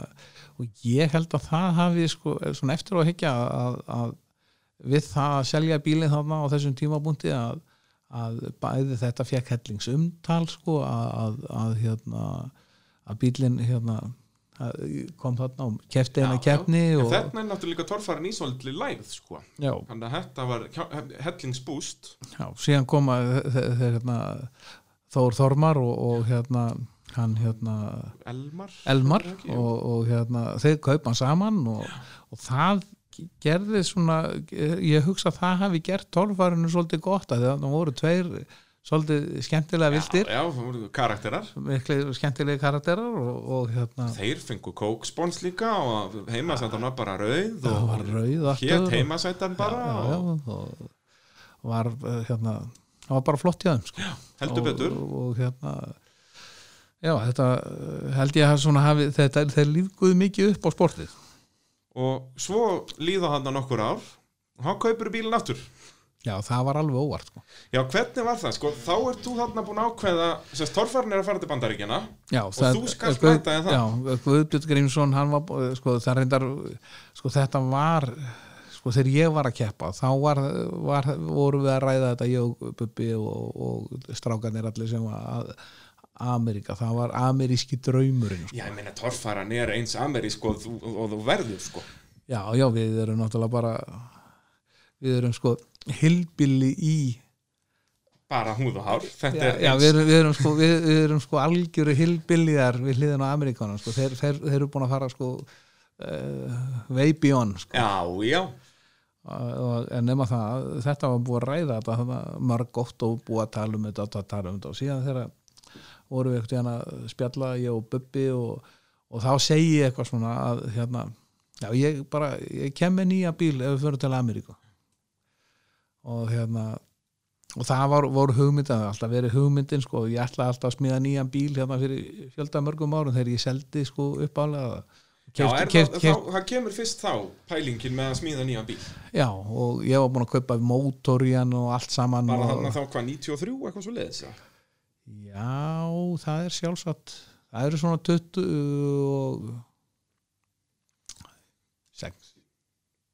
og ég held að það hafi sko, svona eftir á að higgja að, að við það að selja bílinn þarna á þessum tímabúndi að, að bæði þetta fekk hellingsumtal sko að, að, að hérna að bílinn hérna að- kom þarna og kefti
Já,
hennar
já.
keppni
En
og,
Þarna er náttúrulega líka torfarin ísóldli læð sko.
já,
Þannig að þetta var hjá- hellingsbúst
Já, síðan koma þe- þe- þeir hérna Þór Þormar og, og hérna hann hérna
Elmar
Elmar
Ekki, jú.
og, og hérna þeir kaupa hann saman og, og það gerði svona ég hugsa að það hafi gert tólfarinu svolítið gott að það voru tveir svolítið skemmtilega vildir
Já, það voru karakterar
miklu skemmtilegi karakterar og, og hérna
Þeir fengu kókspons líka og heimasætan var bara rauð
það
og
var rauð
hétt
aftur og,
heimasætan bara
já, já,
og
og var eh, hérna það var bara flott hjá þeim sko.
heldur
og,
betur
og, og hérna já, þetta eh, held ég að svona hafi þetta, þeir lífguðu mikið upp á sportið
og svo líða hann nokkur ár og hann kaupir bílinn aftur
já, það var alveg óvart sko.
Já, hvernig var það? Sko, þá ert þú þarna búin að ákveða sérst, torfarinn er að fara til bandaríkjana
Já, eh,
Og þú skalt mæta þér það?
Já, eh, Guðbjörn Grímsson, hann var, eh, sko, það reyndar, sko, þetta var, sko, þegar ég var að keppa, þá var, var vorum við að ræða þetta, ég og Bubbi og, og strákanir allir sem var að Amerika, það var ameríski draumurinn, sko.
Já, ég meina torfarinn er eins amerísk og þú, og þú verður sko.
Já, já, við erum náttúrulega bara, við erum, sko, hilbili í
bara húð og hár þetta
Já,
er
já
eins
við, erum, við, erum sko, við, við erum sko algjöru hilbilliðar við hliðin á Ameríkanum sko. þeir, þeir, þeir eru búin að fara sko uh, way beyond sko.
Já, já,
og, en nema það, þetta var búið að ræða þetta þarna marg gott og búið að tala um þetta og tala um þetta og síðan þegar vorum við eitthvað að spjalla ég og Bubbi og, og þá segi ég eitthvað svona að hérna já ég bara, ég kem með nýja bíl ef við förum til Ameríku og hérna og það var, voru hugmyndin, það hafði alltaf verið hugmyndin sko, ég ætlaði alltaf að smíða nýjan bíl hérna fyrir fjölda mörgum árum þegar ég seldi sko uppálega
já er það, þá, það kemur fyrst þá pælingin með að smíða nýja bíl
Já, og ég var búin að kaupa mótor í hann og allt saman
bara
og...
þarna þá hvað 93 eitthvað svo leiðis
Já, það er sjálfsagt Það eru svona 20 og 6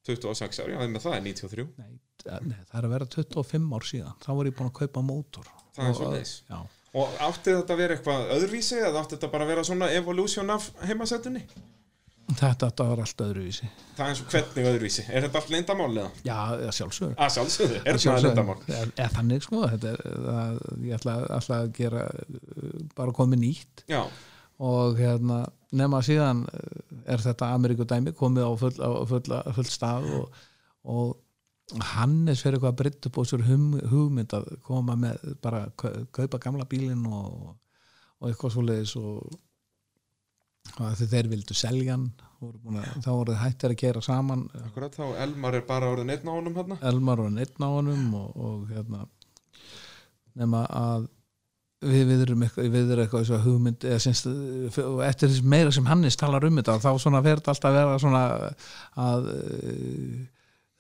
26 ári, já það er með það er 93
Nei, eh, nei, það er að vera 25 ár síðan þá var ég búin að kaupa mótor
það er
Og-
svo leiðis
Já,
og átti þetta að vera eitthvað öðruvísi eða átti þetta bara að vera svona evolution af heimasettunni
þetta, þetta var allt öðruvísi
það er eins og hvernig öðruvísi, er þetta allt leyndamál eða?
Já, eða sjálfsögur
að sjálfsögðu, er þetta leyndamál
Eða þannig sko þetta er, það, ég ætla, ætla að gera uh, bara komið nýtt
já,
og hérna nema síðan eh, er þetta Ameríkudæmi komið á full, á full, á full stað og, og Hannes fyrir eitthvað britt upp á sér hum, hugmynd að koma með bara kau- kaupa gamla bílinn og, og eitthvað svoleiðis og, og að þeir vildu selja hann voru búin að, þá voru hættir að gera saman
akkurat þá Elmar er bara orðin einn á honum hérna
Elmar var neitt á honum og, og hérna nema að við viðrum eitthvað, við erum eitthvað þessu hugmynd eða syns, og eftir þess meira sem Hannes talar um þetta þá svona verður alltaf að vera svona að uh,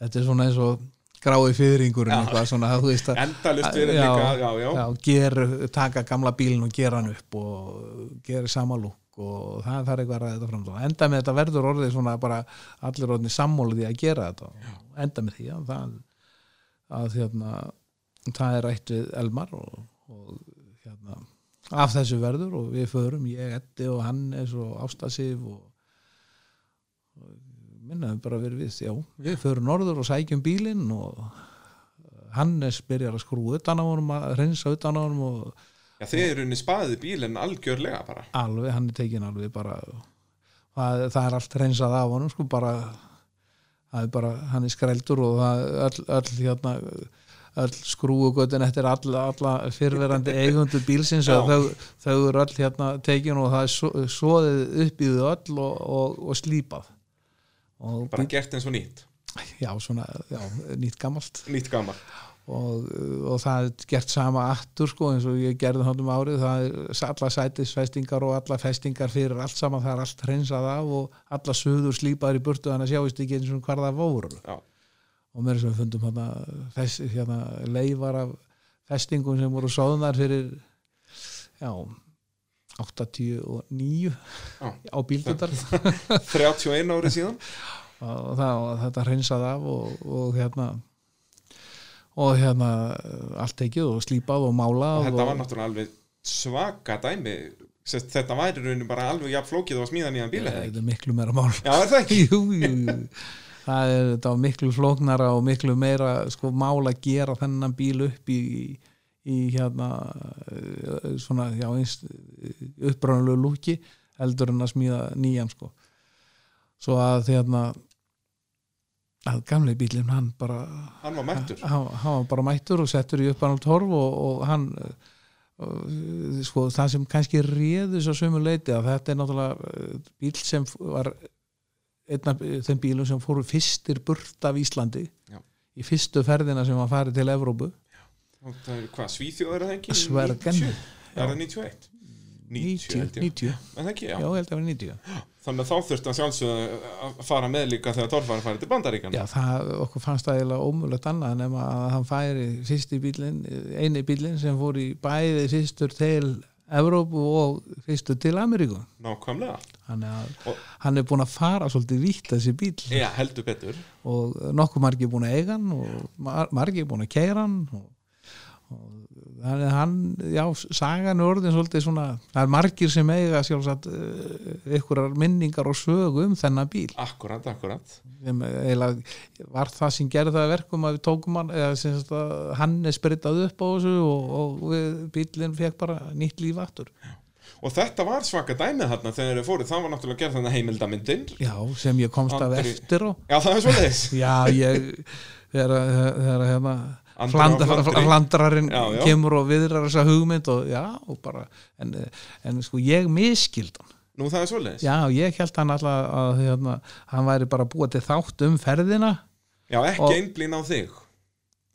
þetta er svona eins og grái fyrringurinn eitthvað svona þú veist að
endalust verið
Já,
líka, já, já,
já, ger, taka gamla bílinn og gera hann upp og gera sama lúk og það þarf eitthvað að ræða þetta fram enda með þetta verður orðið svona bara allir orðinni sammálið í að gera þetta og enda með því að það, að, hérna, það er rætt við Elmar og, og hérna, af þessu verður og við förum ég, Eddi og Hannes og Ástasif og, og minnaðum bara verið við já, við förum norður og sækjum bílinn og Hannes byrjar að skrú utan á honum að reynsa utan á honum og
já þið eru unni spaðið bílinn algjörlega bara
alveg, hann er tekin alveg bara það, það er allt reynsað af honum sko bara það er bara, hann er skrældur og það öll, öll hérna öll skrúugötin eftir alla, alla fyrverandi eigundu bílsins
Já.
að þau, þau eru öll hérna tekin og það er svo- soðið upp í þau öll og, og, og slípað og
bara gert eins og nýtt,
já, svona, já, nýtt gamalt
nýtt gammal
og, og það er gert sama aftur sko eins og ég gerði þáttum árið það er alla sætisfestingar og alla festingar fyrir allt saman, það er allt hreinsað af og alla söður slípaður í burtu þannig að sjáist ekki eins og hvar það voru
já,
og mér sem við fundum hérna, fest, hérna leifar af festingum sem voru sóðnar fyrir já 89
Já.
á bíldundar
31 ári síðan
og, það, og þetta hreinsað af og, og hérna og hérna allt tekið og slípað og málað
og þetta var
og,
náttúrulega alveg svaka dæmi Sest, þetta væri raunin bara alveg jafn flókið og að smíða nýjan bíla eða ekki?
þetta er miklu meira mál
já, er það ekki?
jú, jú, jú. það er þetta var miklu flóknara og miklu meira sko mál að gera þennan bíl upp í, í hérna eh, svona já, eins uppbrunalegu lúki heldur en að smíða nýjan sko svo að hérna að gamli bílinn hann bara
hann var mættur
hann, hann var bara mættur og settur í uppan á torf og, og hann eh, og, sko það sem kannski réðu svo sömu leiti að þetta er náttúrulega eh, bíl sem f- var einn af eh, þeim bílum sem fóru fyrstir burt af Íslandi
Já.
í fyrstu ferðina sem hann farið til Evrópu
Og það er hvað, Svíþjóður er það ekki?
Svergen.
90? Er það 91? 90, held ég.
90,
Er það ekki, já.
já, ég held að vera 90
Þannig að þá þurfti að sjálfsögðu að fara með líka þegar Dorfar farið til Bandaríkjana
já, það okkur fannst það eiginlega ómulegt annað nema að hann færi fyrsti bílinn eh, eini bílinn sem fór í bæði fyrstur til Evrópu og fyrstur til Ameríku
Nákvæmlega
hann er,
Og-
hann er búin að fara svolítið vítt þessi bíl
Já, heldur betur
og nokkuð margir búin að eiga hann og mar margir búin að keira hann og, og hann, hann já, sagan er orðin svolítið svona, það er margir sem eiga sjálfsagt eh, einhverjar minningar og sögu um þennan bíl
Akkurat, akkurat
sem eiginlega var það sem gerði það að verkum að við tókum hann eða sem sagt að hann er spritað upp á þessu og, og við, bílinn fekk bara nýtt líf aftur
Og þetta var svaka dæmið þarna þegar þeir fóruð Það var náttúrulega gerð þannig heimildamyndin
já, sem ég komst af
Andri-
eftir og
Já, það er svoleiðis
Já, ég þegar að- þegar að hérna
Andra
fland-
á flandri.
flandrarinn
Já, já.
kemur og viðrar þessa hugmynd og já, og bara en, en sko, ég miskild hann
Nú, það er svoleiðis Já,
já, ég held hann alltaf að hérna, hann væri bara að búa til þátt um ferðina
ekki
Og-
og... einblín á þig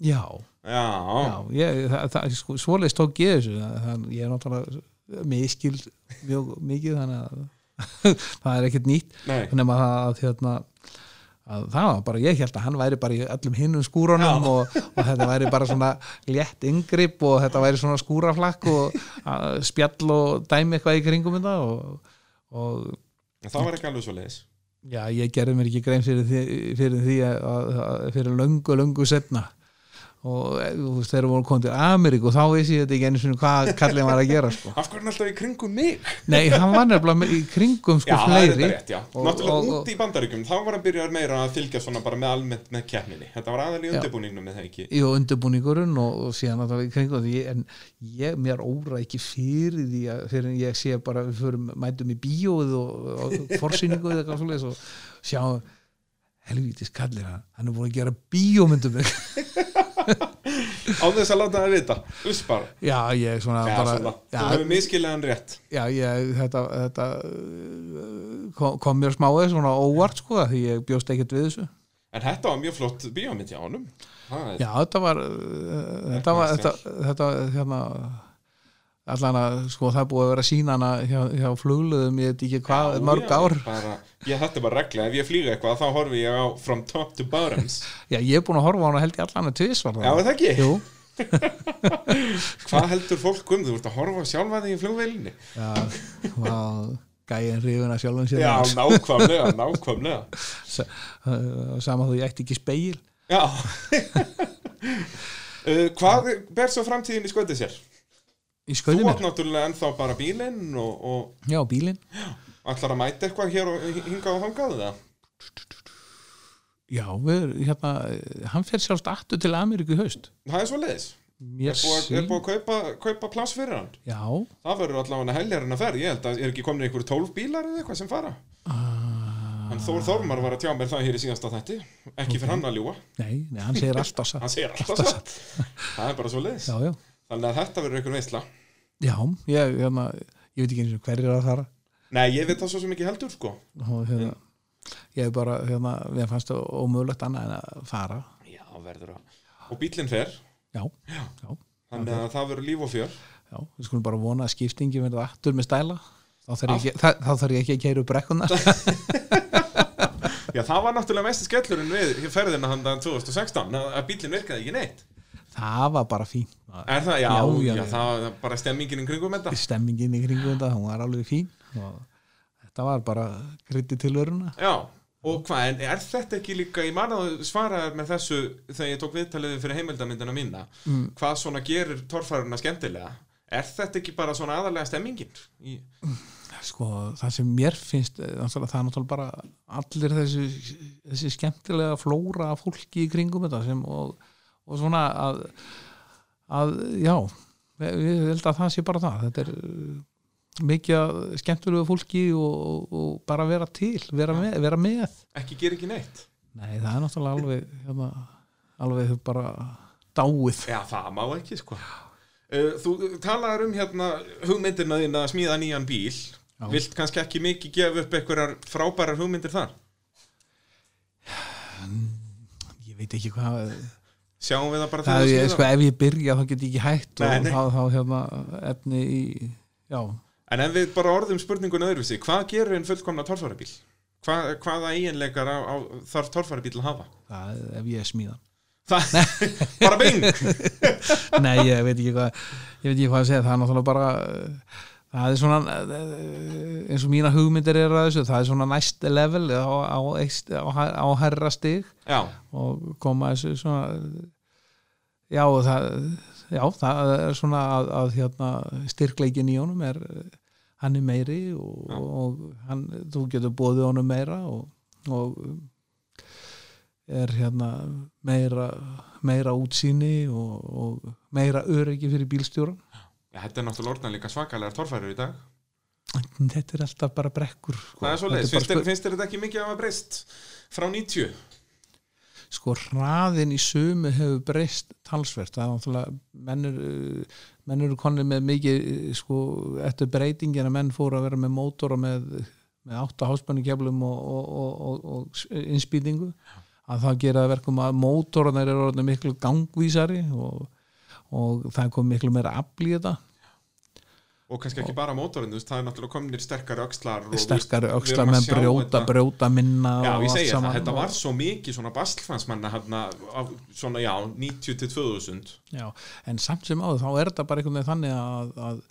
já,
Já,
já ég, það, það, sko, svoleiðist tók ég þessu þannig, ég er náttúrulega miskild mjög mikið þannig að það er ekkert nýtt
nei
nema það að hérna að það var bara, ég held að hann væri bara í öllum hinnum skúrunum
Já.
og, og þetta væri bara svona létt yngripp og þetta væri svona skúraflakk og að, spjall og dæmi eitthvað í kringum þetta og, og
Það var ekki alveg svoleiðis
já, ég gerði mér ekki grein fyrir því, fyrir því að, að, fyrir löngu, löngu setna og e, þú veist, þegar við vorum komið til Ameríku þá vissi ég þetta ekki einu sinni hvað kallið var að gera sko.
Af hverju er hann alltaf í kringum mig?
nei, hann var nefnilega í kringum sko
Já, það er
fleiri
þetta rétt, já
Og-
Náttúrulega
og-
úti í Bandaríkjum Þá var hann byrjar meira að fylgja svona bara með almennt með keppninni Þetta var aðal í
Já.
undirbúningnum með það ekki
Jú, undirbúningurinn og, og síðan náttúrulega í kringum því en ég, mér óra ekki fyrir því að fyrir en ég sé bara við förum, mætum í bíóið og, og forsýningu eða eitthvað svoleiðis og sjá helvítis kallir hann, hann er búin að gera bíómyndum mig.
Á þess að láta það vita Uss bara
já, ég svona
Já,
bara,
svona, þú
já,
hefur miskilegan rétt
já, ég þetta, þetta uh, kom, kom mér smáðið svona óvart sko af því ég bjóst ekkert við þessu
En þetta var mjög flott bíómynd hjá honum Það er-
Já, þetta var uh, þetta var, þetta, þetta hérna allan að, sko, það er búið að vera sína hana hjá, hjá flugluðum, ég veit ekki hvað
Já,
mörg
já,
ár.
bara, ég, Þetta er bara regla, ef ég flýga eitthvað þá horfi ég á From Top to Bottoms
Já, ég er búin að horfa á hana held ég allan að tvisvar
Já,
það.
er það ekki,
Jú,
hvað heldur fólk um þú ert að horfa sjálfa þig í flugvelinni
já, vá, gæin hrifuna sjálfum sér.
Já, nákvæmlega, nákvæmlega
S- uh, Sama þú ég ætti ekki speil.
Já uh, Hvað ber svo framtíðin í sköndi sér?
Í
Þú
skauðinu?
átt náttúrulega ennþá bara bílinn og,
Já, bílinn.
og allar að mæta eitthvað hér og hingað og þangað það
Já, við, hérna, eh, hann fer sjálfst aftur til Ameríku í haust.
Það er svo leiðis
Mér
Er búið er búið að kaupa, kaupa pláss fyrir hann
Já,
Það verður allavega heljar en að ferð, ég held að er ekki komin einhverjum tólf bílar eða eitthvað sem fara En Þór Þormar var að tjá mér það hér í síðasta þætti Ekki fyrir hann að ljúa,
nei, nei, hann segir alltaf satt.
hann segir alltaf satt Það er bara svo leiðis
Já, já.
Þannig að þetta verður einhver veisla
Já, ég, hérna, ég veit ekki eins og hverjir að fara
Nei, ég veit það svo sem ekki heldur sko
og hérna ég hef bara, hérna, við fannst það ómögulegt annað en að fara
Já, verður að Og bílinn fer,
já, já,
þannig að það verður líf og fjör
já, við skulum bara vona að skiptingi verða aftur með stæla þá þarf ég ekki, þá, þá þarf ég ekki að keira upp brekkunar
Já, það var náttúrulega mest skellurinn við ferðina handan 2016 að að bílinn virkaði ekki neitt
það var bara fín
Er það, já,
Já,
já,
já, já.
það var bara stemmingin í kringum þetta
stemmingin í kringum þetta, hún var alveg fín og þetta var bara krytti til öruna
Já, og hvað, en er þetta ekki líka, ég man að þú svaraðir með þessu þegar ég tók viðtaliði fyrir heimildamindina mína,
Mm.
hvað svona gerir torfaruna skemmtilega? Er þetta ekki bara svona aðalega stemmingin? Í,
sko, það sem mér finnst eh, náttúrulega, það er náttúrulega bara allir þessi, þessi skemmtilega flóra af fólki í kringum þetta sem, og, og svona að, að já við við held að það sé bara það þetta er eh, mikið af skemmtilegu fólki og, og, og bara vera til, vera með, vera með.
ekki gerir ekki neitt?
Nei, það er náttúrulega alveg, hérna, alveg bara dáið.
Já, það má ekki, sko. Uh, Þú talaðar um hérna hugmyndirna þín að smíða nýjan bíl.
Já.
Vilt kannski ekki mikið gefa upp einhverjar frábærar hugmyndir þar?
Ég veit ekki hvað, eh,
Sjáum við það bara
það
þegar
er
við
ég,
smíðum?
sko, ef ég byrja þá get ég ekki hætt
Nei, nei.
og þá, þá hérna efni í, já,
En ef við bara orðum spurningun öðruvísi, hvað gerur einn fullkomna torfærabíl? Hva, hvaða eiginleikar á, á, þarf torfærabíl að hafa?
það, er ef ég smíða.
Það, bara bing!
Nei, ég veit ekki hvað, ég veit ekki hvað að segja, það er náttúrulega bara, eh, það er svona, eh, eins og mína hugmyndir eru að þessu, það er svona næst level á, á, eist- á, á herra stig
Já,
og koma þessu svona já og það já það er svona að, að hérna, styrkleikin í honum er hann er meiri og,
Já.
og hann, þú getur bóðið honum meira og, og er hérna meira, meira útsýni og, og meira öryggi fyrir bílstjóran
Já, þetta er náttúrulega orðan líka svakalega torfærar í dag.
þetta er alltaf bara brekkur sko.
Það er svo
Þetta
leiðis,
bara
finnst, þér- finnst þér þetta ekki mikið að hafa breyst frá 90?
sko hraðin í sumu hefur breyst talsvert það er náttúrulega menn eru, menn eru konni með mikið eh, sko eftir breytingin að menn fóru að vera með mótor og með, með átta háspennikeflum og, og, og, og, og innspýtingu að það gera það verkum að mótorarnir eru orðin miklu gangvísari og, og það kom miklu meira afl í þetta
Og kannski ekki bara mótorinn, þú veist, það er náttúrulega komnir sterkari öxlar og
sterkari
þú veist, við
öxla
erum að
með
sjá
brjóta,
þetta.
brjóta minna
Já,
og
ég
allt
segi það,
saman
þetta
og-
var svo mikið svona bastlfansmanna hérna, á- svona já, 90 til 2000
Já, en samt sem áður þá er þetta bara einhvern veginn þannig að, að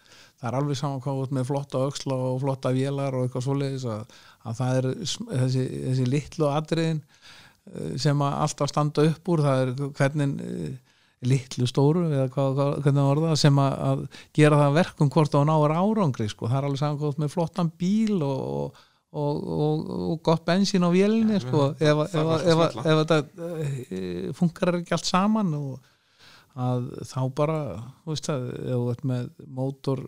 það er alveg saman hvað þú ert með flotta öxla og flotta vélar og eitthvað svoleiðis að, að það er sm- þessi, þessi litlu atriðin eh, sem að alltaf standa upp úr það er hvernig eh, litlu stóru eða hvað, hvað, hvernig orða það, sem að, að gera það að verkum hvort það náir árangri sko. það er alveg saman hvað þú ert með flottan bíl og, og Og, og, og gott bensín á vélinni sko, ef, ef,
það
ef,
var svo
ef, ef,
smella.
þetta eh, funkar ekki allt saman og, að þá bara þú veist það, ef þú ert með mótor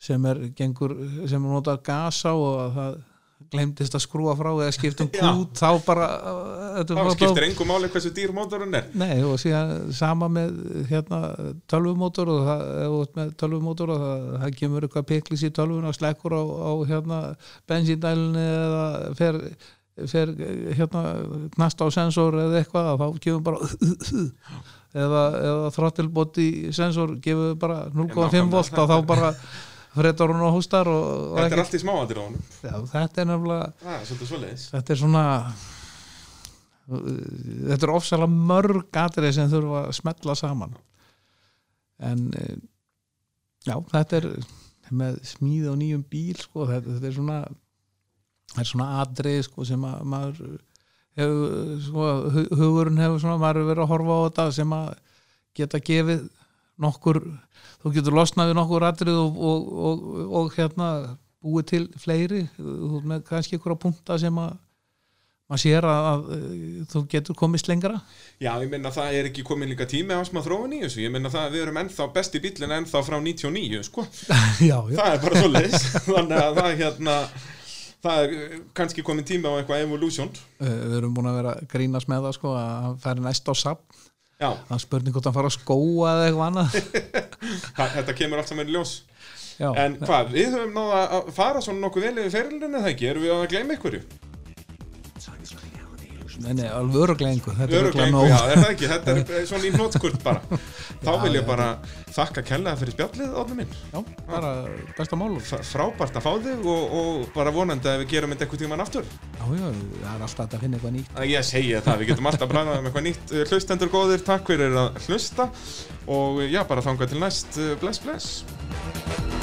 sem er gengur sem er notað gas á og að það glemdist að skrúa frá eða skipta um
Já.
kút þá bara uh, þetta er
þá
bara-
skiptir engu máli hversu dýr mótorinn er
Nei, og síðan sama með hérna tölvumótor og það, ef þú ert með tölvumótor og það, það kemur eitthvað piklis í tölvun og slekkur á, á hérna bensíndælunni eða fer, fer hérna knast á sensor eða eitthvað þá kemur bara eða, eða þrottilbóti sensor gefur bara 0,5
nákvæmlega,
volt og þá
þetta er-
bara frettar hún og hústar og, og
Þetta er
ekkert.
allt í smáandir á honum
Já, þetta er nefnilega
Það er Ah, svolítið svoleiðis
þetta er svona þetta er ofsalega mörg atrið sem þurfa að smetla saman en eh, já, þetta er með smíð á nýjum bíl sko, þetta, þetta er svona það er svona atrið sko, sem að maður hefur, sko, hu- hugurinn hefur svona, maður hefur verið að horfa á þetta sem að geta gefið nokkur, þú getur losnað við nokkur atrið og, og, og, og hérna búið til fleiri þú ert með kannski einhverja punta sem að maður sér að, að eh, þú getur komist lengra
Já, ég meina það er ekki komin líka tími á smá þróun í þessu Ég meina það við erum ennþá besti bílinn ennþá frá 99 sko.
já, já,
Það er bara svoleiðis Þannig að það er hérna Það er uh, kannski komin tími á eitthvað evolution
Eh, við erum búin að vera að grínast með það sko, að hann færi næst á sapn
Já,
hann spurning hvort hann fara að skóa eða eitthvað annað
það, þetta kemur allt saman í ljós
já,
En hvað, við höfum náða að fara svona nokkuð vel yfir ferilinu það ekki Erum við að gleyma ykkurju?
nei, nei, alveg öruglega einhver þetta er
Öruglega
öruglega
einhver,
nóg
já, er það ekki, þetta er eh, svona í hnótskurt bara Þá vil ég bara þakka kellaða fyrir spjallið, Odni minn
já, bara besta málum
F- Frábært að fá þig og, og bara vonandi að við gerum þetta eitthvað tíman aftur
já, já, það er alltaf hægt að finna eitthvað nýtt
Að Ég segja það, við getum alltaf bræðað um eitthvað nýtt Uh, Hlustendur góðir, eh, takk fyrir að hlusta og uh, já, bara þangað til næst Uh, Eh, Bless, bless